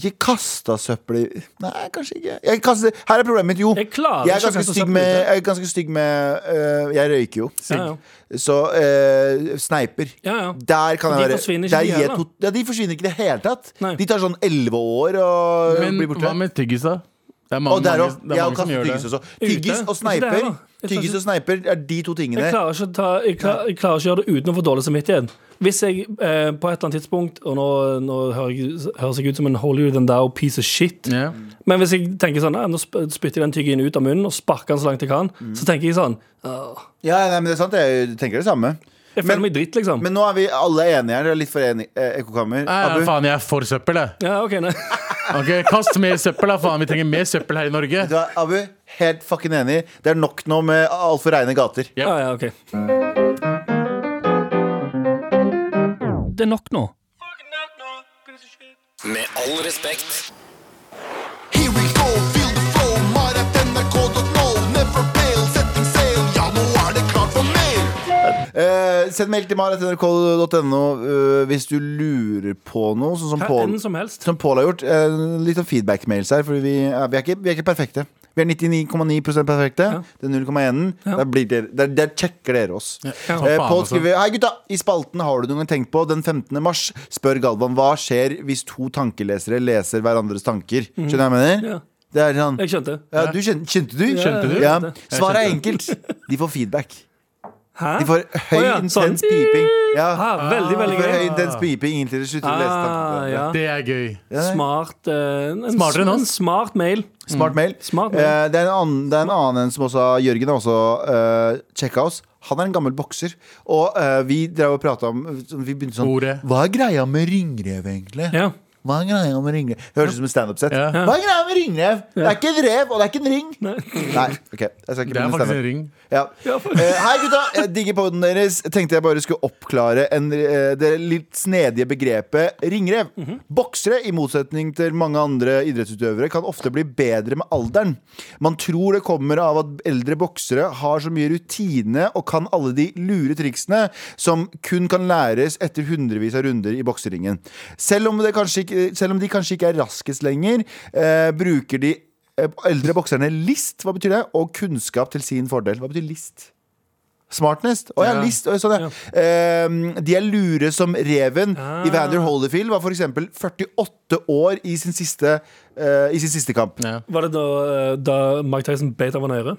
Ikke kasta søppel i Nei, kanskje ikke. Jeg kaster, her er problemet mitt. Jo, Jeg klarer jeg er ikke å ganske kaste stygg søppel med, ute. jeg, er ganske stygg med øh, jeg røyker jo. Ja, ja. Så øh, sneiper. Ja, ja. Der kan De jeg være forsvinner ikke, der de gir jeg heller. to- ja, De forsvinner ikke i det hele tatt. Nei. De tar sånn elleve år og Men blir borte. hva med tyggis, da? Det er Og mange, der mange, òg. det er Jeg har mange som kastet gjør tyggis det. også. Tyggis Ute. og Ikke det sneiper heller, da. Jeg Tyggis synes- og sneiper er de to tingene. Jeg klarer ikke å ta Jeg, klar, jeg klarer ikke å gjøre det uten å få dårlig samvittighet. Hvis jeg eh, på et eller annet tidspunkt Og nå, nå hører jeg, høres jeg ut som en holier than thou piece of shit. Ja. Men hvis jeg tenker sånn «Nei, Nå sp- spytter jeg den tyggien ut av munnen og sparker den så langt jeg kan, så tenker jeg sånn «Åh, Ja, nei, men det er sant, jeg tenker det samme. Jeg føler meg dritt, liksom. Men nå er vi alle enige her. Dere er litt for enige, eh, Ekkokammer. Nei, ja, Abu? faen, jeg er for søppel, jeg. ja, OK, nei. Ok, Kast mer søppel, da, faen. Vi trenger mer søppel her i Norge. Du er Abu, helt fucking enig. Det er nok nå med altfor reine gater. Ja, ja, ok Det er nok nå. Med all respekt. Here we go, feel the flow, maratnrk.no. Never fail, setting sail, ja, nå er det klart for mer. Eh, send mail til maratnrk.no eh, hvis du lurer på noe, sånn som Hva Pål enn som helst. som Paul har gjort. Eh, litt sånn feedback-mails her, for vi, er- vi, er ikke, vi er ikke perfekte. Vi er 99,9 perfekte. Det er 0,1. Der, blir dere- der, der checker dere oss. Som faen, Eh, Paul altså. skriver Hei gutta, i spalten har du noen gang tenkt på Den 15. mars spør Galvan hva skjer hvis to tankelesere leser hverandres tanker Skjønner du hva jeg mener? Mhm. Ja. Det er sånn Jeg skjønte. ja, du kjente, kjente du? Skjønte du? Ja. Jeg Svaret er enkelt De får feedback Hæ? De får høy, Å ja, sånn. intens piping ja. Ah, veldig, De veldig får høy, gøy. intens piping inntil de slutter å lese Ah, tankene ja. Det er gøy. Smart eh, en, Smartere enn en oss. smart mail. Mm. Smart mail. Smart mail. Eh, det, er en annen, det er en annen en som også Jørgen har også uh, sjekka oss. Han er en gammel bokser. Og eh, vi drev og prata om Vi begynte sånn Ordet. Hva er greia med ringrev, egentlig? Ja. Hva er greia med ringrev? Høres ut som et standup-sett. Ja. Hva er greia med ringrev? Det er ikke en rev, og det er ikke en ring. Nei, ok, Det jeg skal ikke er begynne faktisk standup. en ring. Ja. for- Eh, hei, gutta. Jeg digger poden deres. Tenkte jeg bare skulle oppklare en, eh, det litt snedige begrepet ringrev. Boksere, i motsetning til mange andre idrettsutøvere, kan ofte bli bedre med alderen. Man tror det kommer av at eldre boksere har så mye rutine og kan alle de lure triksene som kun kan læres etter hundrevis av runder i bokseringen. Selv om, det kanskje ikke, selv om de kanskje ikke er raskest lenger, eh, bruker de Eh, Eldre bokserne list, hva betyr det? Og kunnskap til sin fordel. Hva betyr list? Smartness? Å ja, Ja. Ah. list. Å, sånn, ja. Eh, de er lure som reven. Evander Holyfield var f.eks. 48 år i sin siste, eh, i sin siste kamp. Ja. Var det da, eh, da Mike Tyson beit av en øre?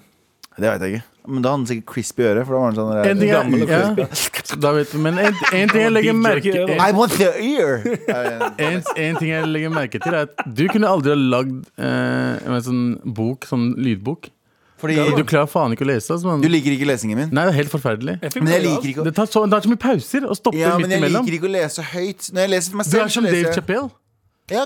Det veit jeg ikke. Men da hadde han sikkert crispy øre. For da var han sånn En ting der, jeg, gammel og ja. crispy. Da vet du, men en, en ting jeg legger merke Beatjerker, en, I want the ear! en, en ting jeg legger merke til, er at du kunne aldri ha lagd eh, en sånn bok, sånn lydbok. Altså, Fordi Du du, klarer faen ikke å lese. Altså, man. liker ikke lesingen min. Nei, det er helt forferdelig. Jeg fikk Men jeg mye av. liker ikke å Det tar så, det er så mye pauser og stopper ja, men midt jeg imellom. liker ikke å lese høyt. Når jeg leser for meg Du selv, er som så leser Dave jeg- Chappelle. Ja,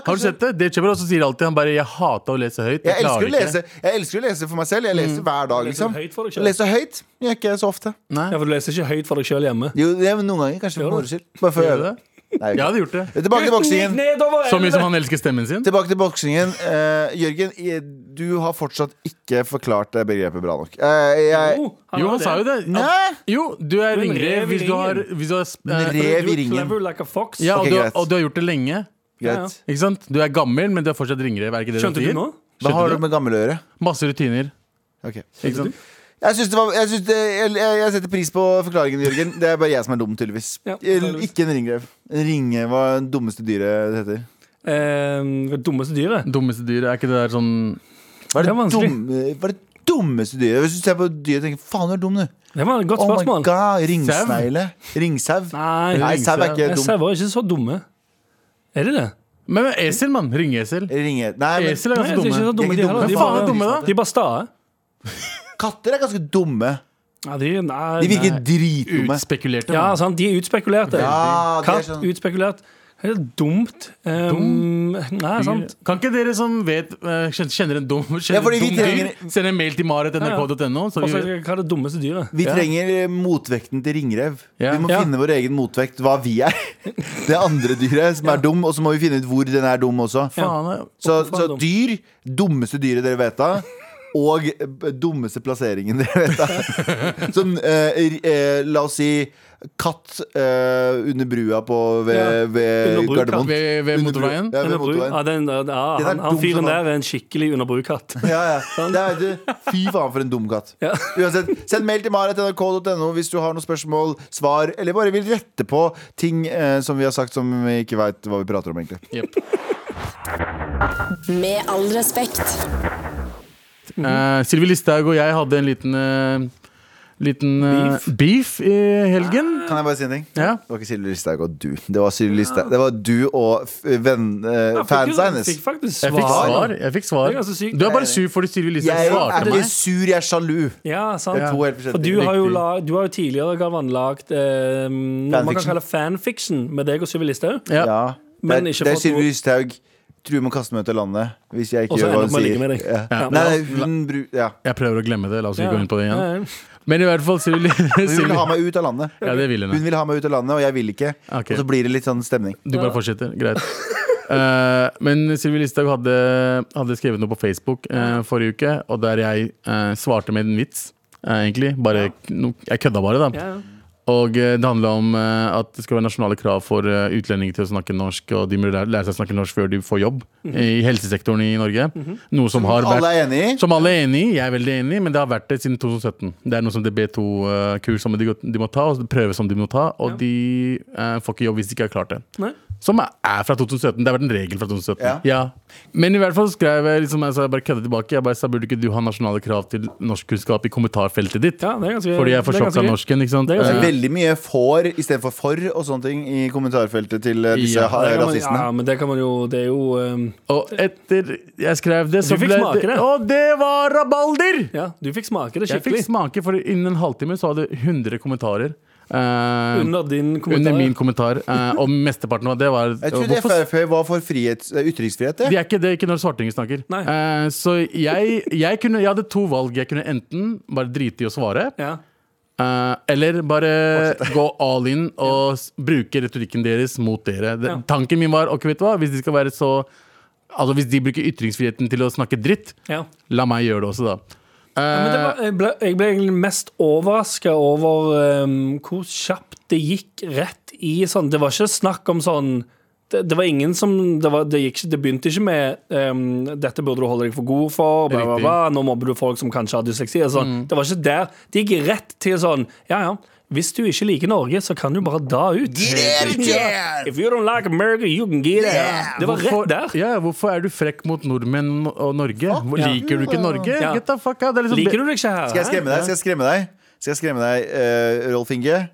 Har du kanskje. sett det? Dave Chappelle også sier alltid han bare 'jeg hater å lese høyt'. Jeg elsker, klarer å ikke». lese, jeg elsker å lese for meg selv. Jeg leser hver dag, Leser du liksom. høyt for deg Jeg selv? leser høyt, men jeg gjør ikke så ofte. Nei, Ja, for du leser ikke høyt for deg sjøl hjemme. Jo, det er noen ganger, kanskje Gjør for du? moro skyld. Bare for å gjør du gjøre det. det? Nei, Jeg ok. hadde gjort det. Tilbake til boksingen. Nedover Så mye som han elsker stemmen sin. Tilbake til boksingen. Eh, Jørgen, i- du har fortsatt ikke forklart det begrepet bra nok. Eh, Oh, jeg Jo, han sa jo det. Nei! Jo, du er Du er en ringrev rev i hvis du har, ringen. hvis du har sp- eh, En rev. Rev i ringen. Clever like a fox. Ja, og, Ok, du, har- greit. og du har gjort det lenge. Greit. Ikke sant? Du er gammel, men du er fortsatt ringrev. Er ikke det Skjønte sier? du nå? Da har du Skjønte du? med gammeløre. Masse rutiner. Ok Ikke sant? Jeg, synes det var, jeg, synes det, jeg, jeg jeg setter pris på forklaringen, Jørgen. Det er bare jeg som er dum, tydeligvis. Ja, Eh, tydeligvis. Ikke en ringrev. En ringe var det dummeste dyret det heter. Eh, det dummeste dyret. Dummeste dyret. Er ikke det der sånn Hva er Det det, er vanskelig. dumme, hva er det dummeste dyret? Hvis du ser på dyret og tenker 'faen, du er dum', du. Det var et godt Oh my spørsmål. god, Ringsnegle? Ringsau? Nei, Nei, sau er ikke Jeg dum. ser var ikke så dumme. Er de det? Men men esel, mann. Ringesel. Ringe. Nei, Esel men er Nei, ganske de er ikke dumme. så dumme, De de er ikke heller. dumme. De Faen, bare- er dumme, da? De bare stae. katter er ganske dumme. Ja, de, nei, De virker nei. dritdumme. Utspekulerte. Ja, altså, mann. sant, de er utspekulerte. Ja, de er Katt, sånn- utspekulert. Helt dumt. Um, nei, sant. Kan ikke dere som vet eh, kjen- kjenner en dum, kjenner Ja, fordi vi dum dyr, trenger- send en mail til marit.nrk.no? så Og så vi- hva er det dummeste dyret? Vi Ja. trenger eh, motvekten til ringrev. Ja. Vi må Ja. finne vår egen motvekt, hva vi er. Det andre dyret som er dum, og så må vi finne ut hvor den er dum også. Faen, jeg- Så, Hvorfor er så den dum? dyr, dummeste dyret dere vet av. Og eh, b- dummeste plasseringen dere vet av. Sånn, eh, ri- eh, la oss si katt eh, under brua på ved, Ja. ved Under brua, katt. Gardermoen. Ved, ved Under brua. motorveien? Ja, ved En bru- motorveien. Ja, den, ja, er han, dum han fyren som han. der er en skikkelig underbrukatt. Ja, ja. Det er, du, fy faen for en dum katt. Sånn. Ja. Uansett, send mail til maret.nrk.no hvis du har noen spørsmål, svar, eller bare vil rette på ting eh, som vi har sagt som vi ikke veit hva vi prater om, egentlig. Jepp. Med all respekt. Eh, Sylvi Listhaug og jeg hadde en liten, eh, liten eh, beef. i helgen. Kan jeg bare si en ting? Ja. Det var ikke Sylvi Listhaug og du. Det var Sylvi Listhaug. Det var du og f- venn, eh, fans av hennes. Fikk faktisk Jeg fikk svar. svar. Jeg fikk svar. Det er ganske sykt. Du er bare sur fordi Sylvi Listhaug Jeg er svarte ikke meg. sur, jeg er sjalu. Ja, sant. To helt For forskjellige du ting. har, jo Riktig. la, du har jo tidligere Galvan, lagt eh, noe man kan Fanfiction. kalle fanfiction med deg og Sylvi Listhaug. Ja. Ja. Men Det ikke er, det er fått Sylvi noe- Listhaug. Truer med å kaste meg ut av landet hvis jeg ikke Og så gjør hva ender hun opp med å ligge med sier. deg. Ja. Ja. Nei, nei, hun bru- ja. Jeg prøver å glemme det. La oss ikke Ja. gå inn på det igjen. Ja, ja. Men i hvert fall Sylvi Hun vil Sylvi- ha meg ut av landet. Ja, det vil hun. Hun ja. vil ha meg ut av landet, og jeg vil ikke. Ok. Og så blir det litt sånn stemning. Du bare fortsetter. Greit. Eh, men Sylvi Listhaug hadde, hadde skrevet noe på Facebook eh, forrige uke, og der jeg eh, svarte med en vits, eh, egentlig. Bare, no, jeg kødda bare, da. Ja, ja. Og eh, det handla om eh, at det skal være nasjonale krav for eh, utlendinger til å snakke norsk, og de må lære lære seg å snakke norsk før de får jobb Mhm. i helsesektoren i Norge. Noe som har Alle vært er enig i? som alle er enig i, jeg er veldig enig i, men det har vært det siden 2017. Det er noe som DB2-kurs eh, som de, gå- de må ta, og prøve som de må ta, og de eh, får ikke jobb hvis de ikke har klart det. Nei. Som er fra 2017. Det har vært en regel fra 2017. Ja. Men i hvert fall skrev jeg liksom, altså, jeg bare kødda tilbake. Jeg bare sa burde ikke du ha nasjonale krav til norskkunnskap i kommentarfeltet ditt? Ja, det er ganske- Fordi jeg er for det er sjokk av ganske gøy. norsken, ikke sant? Det er ganske Eh, Det er veldig mye for istedenfor for og sånne ting i kommentarfeltet til eh, disse Ja, ha- Det kan man, rasistene. ja, men det kan man jo Det er jo eh, Og etter jeg skrev det, så Du fikk ble smake det. Og det var rabalder! Ja, du fikk smake det Jeg fikk skikkelig. smake, for innen en halvtime så hadde 100 kommentarer. eh, Under din kommentar. under min kommentar. eh, og mesteparten av det var Jeg trodde Hvorfor- Frp var for frihets, eh, ytringsfrihet. De Det. er ikke det er ikke når svartinger snakker. Nei. Eh, så jeg, jeg, kunne, jeg hadde to valg. Jeg kunne enten bare drite i å svare, Ja. eh, eller bare gå all in og s- bruke retorikken deres mot dere. Det, Ja. Tanken min var ok, vet du hva, hvis de skal være så Altså hvis de bruker ytringsfriheten til å snakke dritt, Ja. la meg gjøre det også, da. Ja, men det var, jeg, ble, jeg ble egentlig mest overraska over ehm, hvor kjapt det gikk rett i sånn Det var ikke snakk om sånn det, det var ingen som Det, var, det, gikk ikke, det begynte ikke med ehm, 'Dette burde du holde deg for god for', bla, bla, Riktig. bla, 'Nå mobber du folk som kanskje har dysleksi'. og Sånn. Mm. Det var ikke der. Det gikk rett til sånn Ja, ja. Hvis du ikke liker Norge, så kan du bare da Helt ut. riktig. Ja. If you don't like America, you can get out. Det var Hvorfor- rett der. Eh, Ja, hvorfor er du frekk mot nordmenn og Norge? Hvor- Ja. Liker du ikke Norge? Ja. Get the fuck out. Det er liksom Liker du det ikke her? Skal jeg skremme deg? Skal jeg skremme deg, skal jeg skremme deg eh, Rolf Inge?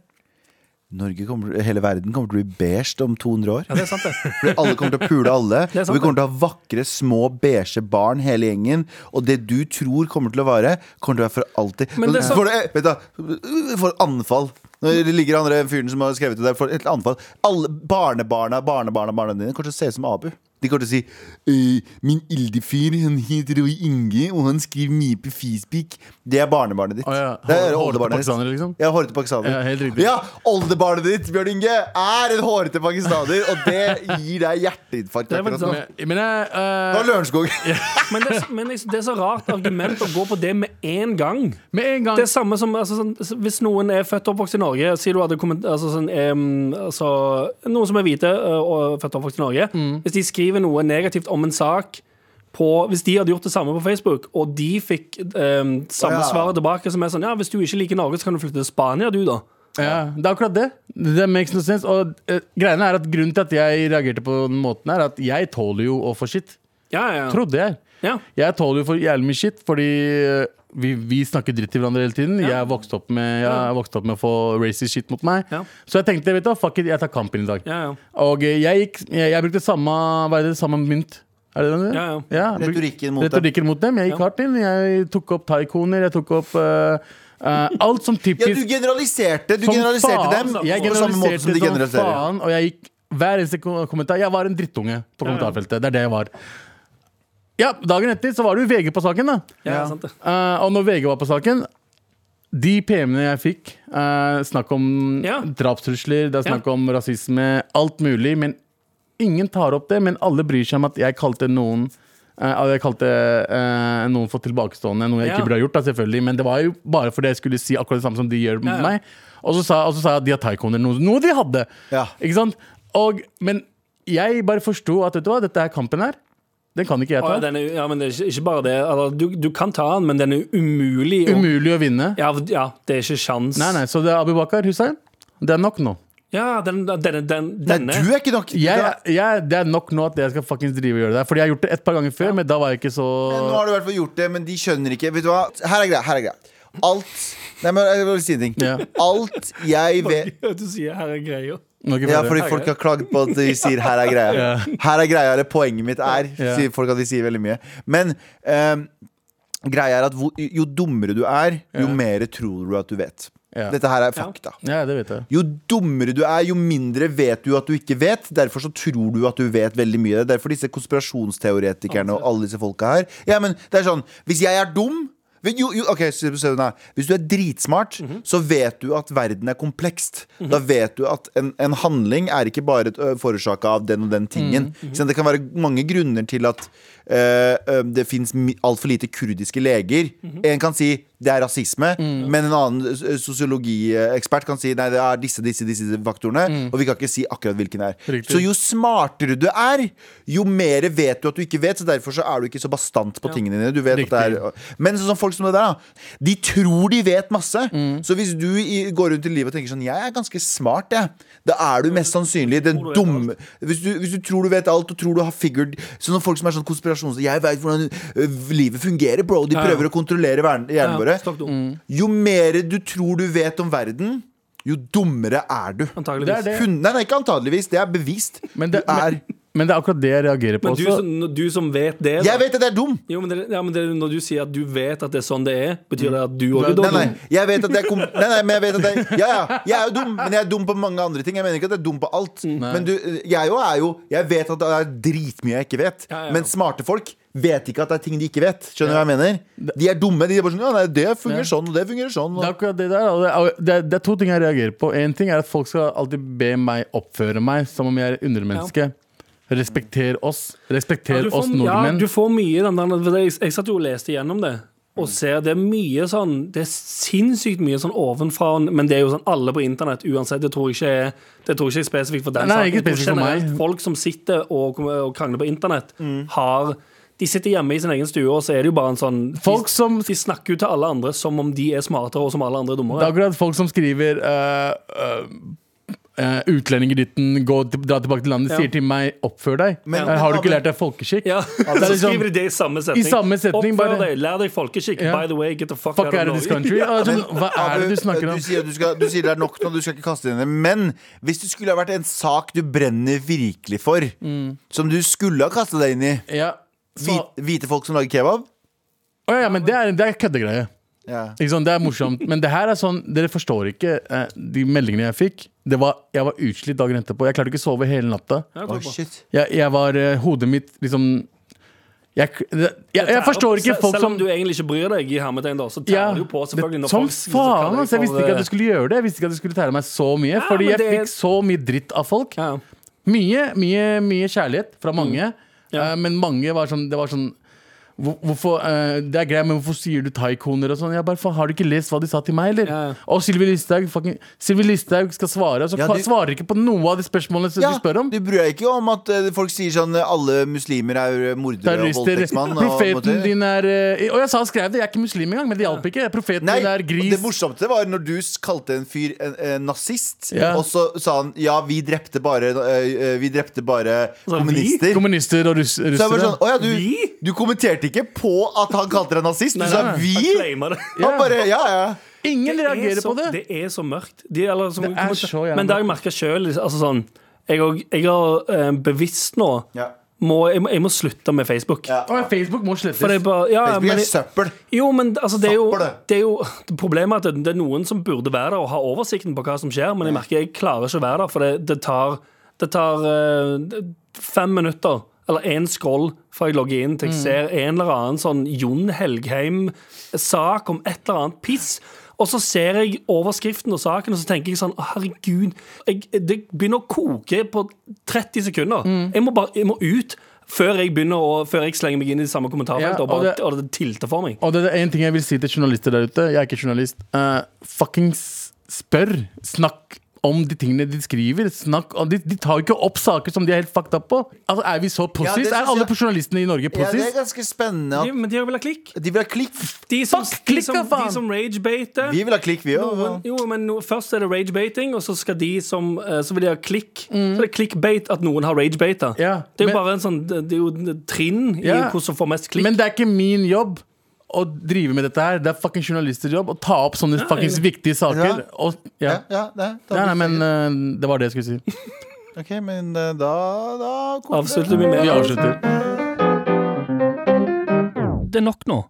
Norge kommer, hele verden kommer til å bli beige om 200 år. Ja, det er sant, det. Fordi alle kommer til å pule alle. er sant, Og vi kommer til å ha vakre, små, beige barn hele gjengen. Og det du tror kommer til å være, kommer til å være for alltid. Men det er sant. for, eh, vet du, for anfall. Når det ligger andre fyren som har skrevet det der, for et anfall. Alle barnebarna, barnebarna, barna dine kommer til å se ut som Abu. De kommer til å si «Eh, Min ilde fyr, han heter Roy Inge, og han skriver mye på Facebook. Det er barnebarnet ditt. Å ja, Det er hår- hårete oldebarnet ditt. pakistanere, liksom? Ja, hårete pakistaner. Ja, helt riktig. Ja, Oldebarnet ditt, Bjørn Inge, er en hårete pakistaner, og det gir deg hjerteinfarkt. Det sånn. er vel akkurat nå. sant. Men jeg, eh, Det var Lørenskog. Men det, men jeg- det er så rart argument å gå på det med en gang. med en gang Det er samme som altså, sånn, Hvis noen er født og oppvokst i Norge Sier du hadde komment, altså, sånn, em, altså, Noen som er hvite ø, og født og oppvokst i Norge Mm. Hvis de skriver noe negativt om en sak på, Hvis de hadde gjort det samme på Facebook Og de fikk em, samme Å, ja. svaret tilbake Som er sånn, ja hvis du ikke liker Norge Så kan du flytte til Spania du da Ja, det er akkurat det. Det makes no sense. Og eh, greiene er at Grunnen til at jeg reagerte på den måten, er at jeg tåler jo å få shit. Ja, ja, ja, Trodde jeg. ja. Jeg tåler jo for jævlig mye shit, fordi eh, vi, vi snakker dritt til hverandre hele tiden. Jeg er vokst opp med, jeg er vokst opp med å få racist shit mot meg. Ja. Så jeg tenkte vet du, hva, fuck it, jeg tar kampen i dag. Ja, ja. Og eh, jeg, gikk, jeg, jeg brukte samme hva er det, samme mynt. Er det det? Ja, ja. bruk- Retorikken mot dem. retorikken mot dem. Jeg gikk hardt inn. Jeg tok opp taikoner. Jeg tok opp eh, eh, alt som Ja, du typisk generaliserte, du som generaliserte faen. dem Jeg på samme måte som de generaliserte som generaliserer. faen, og jeg gikk hver eneste ko- kommentar. Jeg var en drittunge på kommentarfeltet. Det er det jeg var. Ja, Dagen etter så var det jo VG på saken, da. ja, sant det. Eh, og når VG var på saken De PM-ene jeg fikk, eh, snakk om Ja. drapstrusler, det er snakk Ja. om rasisme, alt mulig. Men ingen tar opp det. Men alle bryr seg om at jeg kalte noen eh, at jeg kalte eh, noen for tilbakestående, noe jeg Ja. ikke burde ha gjort. Da, selvfølgelig Men det var jo bare fordi jeg skulle si akkurat det samme som de gjør med Ja, ja. meg. Og så, sa, og så sa jeg at de har taikoner, noe, noe de hadde. Ja. Ikke sant? Og, men jeg bare forsto at vet du hva, dette er kampen her. Den kan ikke jeg Å, ta. ja, den er, ja, men det er ikke, ikke bare det altså, du, du kan ta den, men den er umulig å- Umulig å vinne. ja, ja, det er ikke sjans Nei, nei, så det er Abu Bakar Hussein. Det er nok nå. Ja, den, denne, den, Nei, denne du er ikke nok Jeg, jeg, det er nok nå at jeg skal fucking drive og gjøre det der. Fordi jeg har gjort det et par ganger før, men da var jeg ikke så Nå har du i hvert fall gjort det, men de skjønner ikke. Vet du hva? Her er greia. Her er greia. Alt Nei, men jeg vil si en ting. Ja. Alt jeg vet Du sier her er greia. Nå er jeg ikke Ja, ferdig. fordi folk har klagd på at de sier 'her er greia'. Her er greia, eller poenget mitt er. Ja. Sier folk at de sier veldig mye. Men ehm, greia er at hvor, jo dummere du er, jo mer tror du at du vet. Ja. Dette her er fakta. ja, det vet jeg. Jo dummere du er, jo mindre vet du at du ikke vet. Derfor så tror du at du vet veldig mye. Det er derfor disse konspirasjonsteoretikerne og alle disse folka her. Ja, men det er sånn, Hvis jeg er dum men jo, jo, ok, se på søvnen her. Hvis du er dritsmart, Mhm. så vet du at verden er komplekst. Da vet du at en, en handling er ikke bare forårsaka av den og den tingen. Ikke sant? Det kan være mange grunner til at øh, øh, det fins altfor lite kurdiske leger. En kan si det er rasisme, men en annen s- sosiologiekspert kan si nei, det er disse, disse, disse faktorene. Og vi kan ikke si akkurat hvilken det er. Riktig. Så jo smartere du er, jo mer vet du at du ikke vet. Så derfor så er du ikke så bastant på tingene dine. Du vet at det er Men sånn som folk som det der, da. De tror de vet masse. Mm. Så hvis du i, går rundt i livet og tenker sånn Jeg er ganske smart, jeg. Da er du mest sannsynlig den Tror du vet dumme hvis du, hvis du tror du vet alt og tror du har figured Sånn som folk som er sånn konspirasjons... Jeg vet hvordan ø, livet fungerer, bro. De ja. prøver å kontrollere verden- hjernen Mm. vår. Stokk dum. Jo mer du tror du vet om verden, jo dummere er du. Antageligvis. Det er det. Hun, nei, nei, ikke antageligvis. Det er bevist. Men det, du er men, Men det er akkurat det jeg reagerer på Men du også. som, du som vet det da. Jeg vet at jeg er dum! Jo, men det, ja, men det, Når du sier at du vet at det er sånn det er, betyr det at du òg er Nei, dum? nei, jeg vet at jeg kom... Nei, nei, men jeg vet at jeg... Ja, ja, jeg er jo dum, men jeg er dum på mange andre ting Jeg mener ikke at jeg er dum på alt Men du, jeg jo er jo... Jeg vet at det er dritmye jeg ikke vet Ja, ja. Men smarte folk vet ikke at det er ting de ikke vet Skjønner du hva jeg mener? De er dumme, de er bare sånn Ja, nei, det fungerer sånn, og det fungerer Det sånn er og... akkurat det der. og Det er, det, er, det er to ting jeg reagerer på. Én ting er at folk skal alltid be meg oppføre meg som om jeg er undermenneske. Respekter oss. Respekter Du får- oss nordmenn. Ja, du får mye den der for jeg, jeg satt jo og leste igjennom det. Mm. Og ser det er mye sånn Det er sinnssykt mye sånn ovenfra, men det er jo sånn alle på internett uansett. Det tror jeg ikke er, det tror jeg ikke er spesifikt for den Nei, ikke Jeg tror spesifikt for generelt meg. Mm. Folk som sitter og, og krangler på internett, har de sitter hjemme i sin egen stue, og så er det jo bare en sånn Folk som- De, de snakker jo til alle andre som om de er smartere, og som alle andre er Det dummere. er akkurat folk som skriver uh, Utlendinger dytten, gå, til- dra tilbake til landet, Ja. sier til meg 'oppfør deg'. Men- Her har du ikke men- lært deg folkeskikk? Ja, det er Så liksom- skriver de det i samme setning. I samme setning, Oppfør bare- deg, lær deg folkeskikk. Ja. By the way, get the fuck, Fuck out out of of this Norge. country. Og det er sånn, Hva er det Abu, du snakker om? Eh, Du sier, du, skal, du sier det er nok nå, du skal ikke kaste dine Men hvis det skulle ha vært en sak du brenner virkelig for Som du skulle ha kastet deg inn i Ja, Mm. så, hvit- Hvite folk som lager kebab Å ja, men det er, det er køddegreie. ja. Ikke sant? Det er morsomt. Men det her er sånn, dere forstår ikke eh, de meldingene jeg fikk. Det var, jeg var utslitt dagen etterpå. Jeg klarte ikke å sove hele natta. Ja, Åh, takk for. shit Jeg, jeg var eh, Hodet mitt liksom jeg, jeg, jeg, jeg forstår ikke Sel- folk Selv som om du egentlig ikke bryr deg, i hermetegn da så tærer du på selvfølgelig når som folk så kaller faen, altså! deg Jeg for, visste ikke at eh, du skulle gjøre det. Jeg visste ikke at du skulle tære meg så mye. fordi men jeg det- fikk så mye dritt av folk. ja. Mye, mye, mye kjærlighet fra mange. Mm. Ja. Eh, men mange var sånn Det var sånn hvor- Hvorfor, eh, det er greit, men hvorfor sier du taikoner og sånn? Jeg bare, faen, Har du ikke lest hva de sa til meg, eller? Ja. Og Sylvi Listhaug fucking- Sylvi Listhaug skal svare, og så Ja, ka- du- svarer ikke på noe av de spørsmålene som du spør om. Du bryr deg ikke om at eh, folk sier sånn eh, alle muslimer er eh, mordere og Terrorister. voldtektsmann. og- Profeten og- din er eh, Og jeg sa og skrev det, jeg er ikke muslim engang, men det hjalp ikke. Profeten Nei, din er gris. Det morsomste var når du s- kalte en fyr en, en nazist, Ja. og så sa han ja, vi drepte bare, eh, eh, vi drepte bare vi? kommunister. Kommunister og russ, så jeg russere. bare sånn, å ja, Vi? du, du kommenterte ikke på at han kalte deg nazist, du nei, sa nei. Jeg vi. claimer det. Han bare, ja, ja. Ingen Det er reagerer så- på det. Det er så mørkt. De, eller, som, Det er så jævla men det har jeg merka sjøl. Altså, sånn, jeg, og- jeg har eh, bevisst nå ja. må, jeg, må- jeg må slutte med Facebook. Ja. Å, ja, Facebook må slettes. For det er bare, ja, Facebook men er jeg- søppel. Jo, men altså, det er jo, Søppel, det. det er jo Problemet er at det, det er noen som burde være der og ha oversikten på hva som skjer, men jeg merker jeg klarer ikke å være der, for det, det tar, det tar eh, fem minutter. Eller én scroll fra jeg logger inn til jeg ser en eller annen sånn Jon Helgheim-sak om et eller annet piss. Og så ser jeg overskriften og saken, og så tenker jeg sånn «Å, Herregud. Jeg, det begynner å koke på 30 sekunder. Jeg, må bare, jeg må ut før jeg begynner å, før jeg slenger meg inn i det samme kommentarfeltet. Ja, og, bare, og det- og det tilter for meg. Og det er en ting jeg vil si til journalister der ute. Jeg er ikke journalist. Uh, Fuckings spør. Snakk om de tingene de skriver. Snakk om, de, de tar jo ikke opp saker som de er helt fucked up på. Altså, Er vi så pussies? synes er alle jeg- journalistene i Norge ja, det pussies? er ganske spennende De, at men de vil ha klikk. de vil ha klikk. De som, Fuck, de klikk, som, da, faen! de som ragebaiter. Vi vil ha klikk, vi Noen, òg. jo, men no, først er det ragebaiting, og så skal de som eh, Så vil de ha klikk. Så det er clickbait at noen har ragebaita. Mm. Ja, det er jo men- bare en sånn Det det er jo en trinn i Ja. hvordan som får mest klikk. Men det er ikke min jobb å drive med dette her. Det er fucking journalisters jobb å ta opp sånne fuckings viktige Ja. saker. Og, ja. Ja, ja, det, da, Nei, nei, men eh, det var det jeg skulle si. Ok, men eh, da, da Avslutter vi med Vi avslutter. Det er nok nå.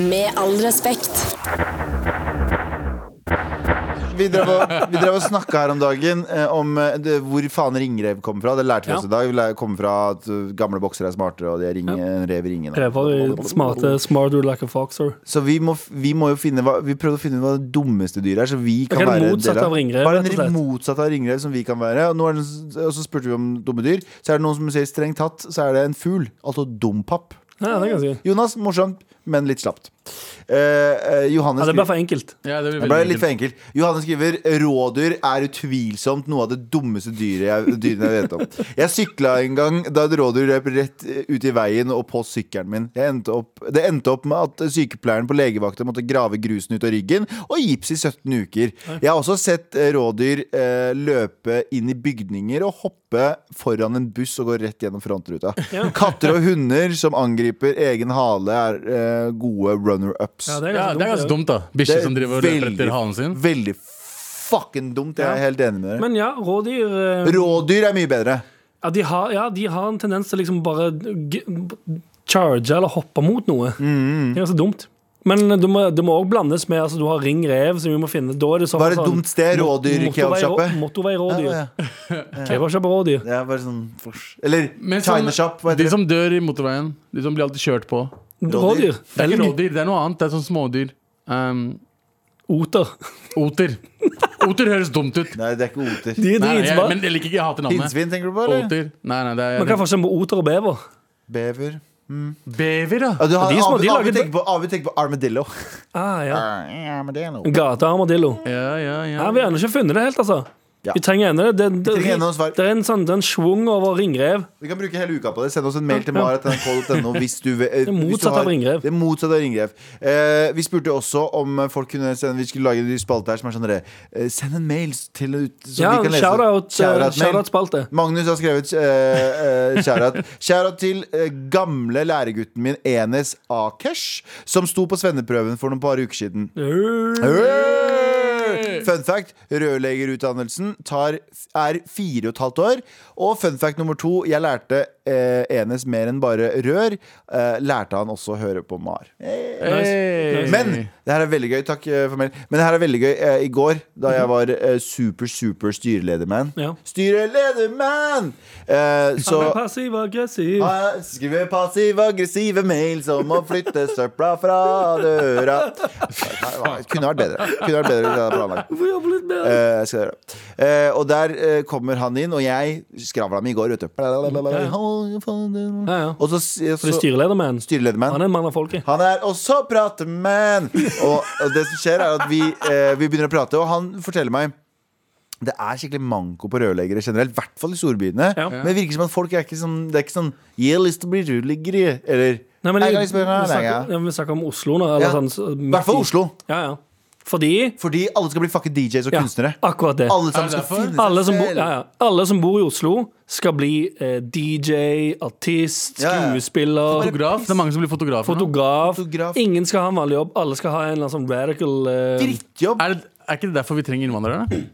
Med all respekt. Vi drev og, vi drev og snakka her om dagen eh, om eh, det, hvor faen ringrev kommer fra. Det lærte vi oss Ja. i dag. Vi lær- kommer fra at uh, gamle boksere er smartere, og de er ringe, en rev i ringen. Rever i smarte smarter like a foxer. Så vi må, vi må jo finne hva, Vi prøvde å finne ut hva det dummeste dyret er. Så vi kan Ok, det være en motsatte del av ringrev, Bare rett og slett. en motsatt av ringrev som vi kan være. Og, nå er det, og så spurte vi om dumme dyr. Så er det noen som sier strengt tatt, så er det en fugl. Altså dompapp. Ja, det kan jeg si. Jonas, morsomt, men litt slapt. Eh, eh, Johannes Ja, det er bare for enkelt. Ja, det blir Det ble veldig litt enkelt. for enkelt. Johanne skriver rådyr er utvilsomt noe av det dummeste dyret jeg, dyrene jeg vet om. Jeg sykla en gang da et rådyr løp rett eh, ut i veien og på sykkelen min. Jeg endte opp, det endte opp med at sykepleieren på legevakta måtte grave grusen ut av ryggen og gips i 17 uker. Jeg har også sett eh, rådyr eh, løpe inn i bygninger og hoppe foran en buss og gå rett gjennom frontruta. Katter og hunder som angriper egen hale, er eh, gode runner-ups. Ja, det er Ja, det er ganske dumt, da. Det Bikkje er som driver og løper veldig- etter halen sin. Veldig fucking dumt. Jeg er Ja. helt enig med dere. Men ja, rådyr eh, Rådyr er mye bedre. Ja, de har, ja, de har en tendens til liksom bare g- charge eller hoppe mot noe. Mm. Det er ganske dumt. Men det må det må òg blandes med altså, du har ring rev, som vi må finne. Da er det sånn, Hva er et dumt sted? Rådyr i kebabsjappe? Motorveirådyr. Ja, ja. Kebabsjapperådyr. Det er bare sånn fors- Eller Men sånn- Chinashop, hva De heter det? som dør i motorveien. De som blir alltid kjørt på. Rådyr. Det er ikke rådyr, det er noe annet. Det er sånn smådyr. Um, Oter. oter. Oter høres dumt ut. Nei, det er ikke oter. De Nei, er nei, jeg, dritsmå. men jeg liker ikke jeg hater navnet. Pinnsvin, tenker du på? eller? Oter. Nei, nei, det Man kan er forskjell på oter og bever. Bever. Bever, da. Ja, du har, De som- Avi, de Avi lager- tenker på, Avi tenker på armadillo. Ah, ja. Armadillo. Gatearmadillo. Ja, ja, ja. Ja, vi har ennå ikke funnet det helt, altså. Ja. Vi trenger ennå det. Det, det, trenger ennå svar. det er en sånn det er en schwung over ringrev. Vi kan bruke hele uka på det. Send oss en mail til maret.nrk.no hvis du Det er motsatt av ringrev. Det er motsatt av ringrev. Eh, vi spurte også om eh, folk kunne sende Vi skulle lage en ny spalte her som er sånn derre eh, Send en mail til ut så Ja, vi kan lese den. shout-out, eh, Shout-out-mail. shout-out-spalte. Magnus har skrevet eh, eh, shout-out. Shout-out til eh, gamle læregutten min Enes Akesh, som sto på svenneprøven for noen par uker siden. Hey! Fun fact, rørleggerutdannelsen tar, er fire og et halvt år. Og fun fact nummer to, jeg lærte eh, Enes mer enn bare rør. Eh, lærte han også å høre på Mar. Nice. Men det her er veldig gøy. Takk eh, for mail. Men det her er veldig gøy. Eh, I går, da jeg var eh, super, super styrelederman Ja. Styrelederman! Eh, så Han er passiv aggressiv. Ah, Skriver passiv-aggressive mail som å flytte søpla fra døra. Kunne vært bedre. Kunne vært bedre hvis jeg hadde planlagt. Hvorfor jobbe litt mer? Eh, jeg skal gjøre det. Eh, og der eh, kommer han inn, og jeg skravla mi i går, vet du. Ja, ja. Og så, For de så styreleder med en. Han Styreledermann. er en mann av folket. Han er også pratemann! Og, og det som skjer, er at vi, eh, vi begynner å prate, og han forteller meg det er skikkelig manko på rørleggere generelt, i hvert fall i storbyene. Ja. Men det virker som at folk er ikke sånn Det er ikke sånn 'Jeg har lyst til å bli rørlegger', jeg», eller Nei, men «Jeg vi, vi, kan lyst til å bli snakker, rørlegger». ja, men vi snakker om Oslo nå. Eller Ja. sånn, så- I hvert fall Oslo. Ja, ja. Fordi Fordi alle skal bli fucking DJs og ja, kunstnere. Akkurat det. Alle Er sammen det skal derfor? finne seg Alle som, bor- selv. ja, ja. Alle som bor i Oslo, skal bli eh, DJ, artist, Ja, ja. skuespiller, Fotograf. Det er mange som blir fotografer. nå. fotograf. Fotograf. Ingen skal ha en vanlig jobb. Alle skal ha en eller annen sånn radical eh, Drittjobb. Er, det, er ikke det derfor vi trenger innvandrere?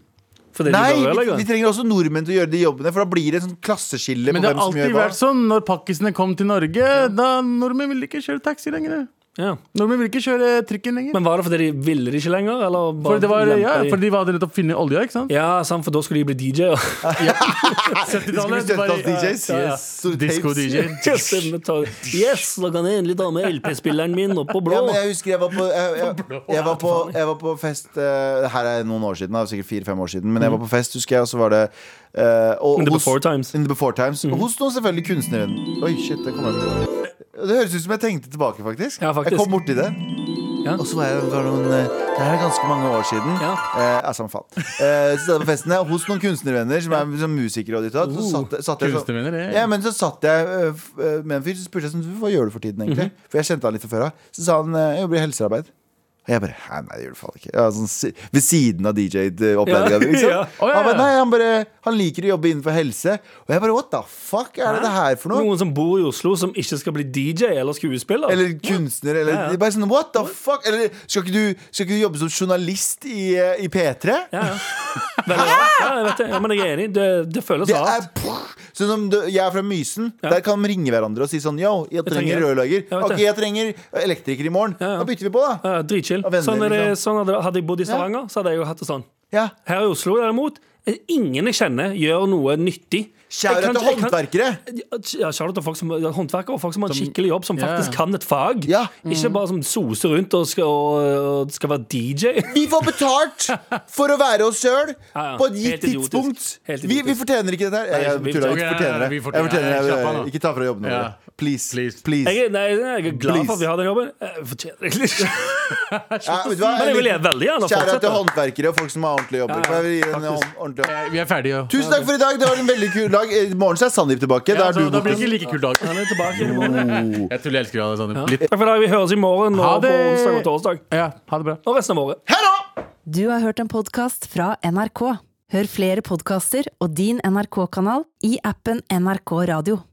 fordi de Nei, går vi, rørleggere. vi trenger også nordmenn til å gjøre de jobbene, for da blir det et sånt klasseskille. Men på det har hvem som alltid gjør hva. vært sånn når pakkisene kom til Norge. Da Nordmenn ville ikke kjøre taxi lenger. ja. Nordmenn ville ikke kjøre trikken lenger. Men var det fordi de ville det ikke lenger? Eller bare For det var, lempa ja, de- for de var nettopp funnet olja, ikke sant? ja, sant, for da skulle de bli DJ-er. Skulle 70-tallet, vi støtte bare- oss DJs? Ja, ja. Store tapes. Disco-DJ. yes, logg han endelig da med LP-spilleren min oppå blå. Ja, men jeg husker jeg var på Jeg, jeg, jeg, var, på, jeg var på fest eh, Her er noen år siden, da, sikkert fire-fem år siden. Men jeg var på fest, husker jeg, og så var det eh, og, In the hos- before times. Mm. In the before times Og hos noen selvfølgelig kunstneren. Oi, shit, det kom jeg på. Det høres ut som jeg tenkte tilbake, faktisk. Ja, faktisk. Jeg kom borti det. Ja. Og så var jeg var noen, eh, Det her er ganske mange år siden. Ja. Eh, ja, samme faen. Eh, så jeg var på festen der, hos noen kunstnervenner som er som musikere. Og ditt, og datt, Oh, så satt, satt jeg sånn Kunstnervenner, det er- ja, men så satt jeg øh, f- øh, med en fyr, så spurte jeg sånn, hva gjør du for tiden egentlig? Mhm. For jeg kjente han litt fra før av. Så sa han, «Øh, jeg jobber i helsearbeid. Og jeg bare, hæ, nei, det gjør du faen ikke. Ja, sånn, si- ved siden av DJ-oppledningen, Ja. liksom. Ja. Å, ja, Han bare, ja. nei, han bare, han liker å jobbe innenfor helse. Og jeg bare, what the fuck er det det her for noe? Noen som bor i Oslo, som ikke skal bli DJ eller skuespiller. Eller kunstner, eller Ja, ja. bare sånn, what the fuck? Eller, skal ikke du, skal ikke du jobbe som journalist i, eh, i P3? ja, ja. Veldig rart. Ja, jeg vet det. Ja, men jeg er enig. Det, det føles Det er rart. Sånn som du, jeg er fra Mysen. Der kan de ringe hverandre og si sånn Yo, jeg trenger- trenger rørlegger. Ja, vet Ok, det. jeg trenger elektriker i morgen. Ja, ja. Da bytter vi på, da. Ja, Dritchill. Og venner, Sånn er det, liksom. sånn hadde, hadde jeg bodd i Stavanger, så hadde jeg jo hatt det sånn. Ja. Her i Oslo, derimot, ingen jeg kjenner, gjør noe nyttig. Jeg Kjære kan- jeg til kan- håndverkere. Ja, shout out til folk som ja, håndverkere og folk som har en Som- skikkelig jobb, som Ja. Mm. faktisk kan et fag. Ja. Ikke bare som soser rundt og skal, og, og skal være DJ. Vi får betalt for å være oss sjøl Ja, ja. på et gitt Helt idiotisk. tidspunkt. Helt Vi, vi idiotisk. fortjener ikke dette her. Jeg, jeg, vi tuller, fortjener- jeg fortjener det. vi Jeg fortjener- fortjener ja, slapp av det. nå. Ikke ta fra jobben Ja. vår. Please. Please. Please. Jeg, er- nei, jeg er glad for at vi Please. har den jobben. Jeg fortjener det egentlig ikke. Ja, vet du hva? Men jeg vil veldig gjerne Kjære til fortsette. håndverkere og folk som har ordentlige jobber. Ja, ja. Jeg vil gi en ordentlig jobb. Vi er ferdige. Ja. Tusen takk for i dag. Det var en veldig kul dag. I morgen så er Sandeep tilbake. Da Ja, er du altså, så da blir det borte. Oh. ikke like kul dag. Han er tilbake i morgen. Jeg tror jeg elsker deg, Sandeep. Litt. Takk for i dag. Vi høres i morgen Ha og på det. onsdag og torsdag. Ja, ha det bra. Og resten av året. Du har hørt en podkast fra NRK. Hør flere podkaster og din NRK-kanal i appen NRK Radio.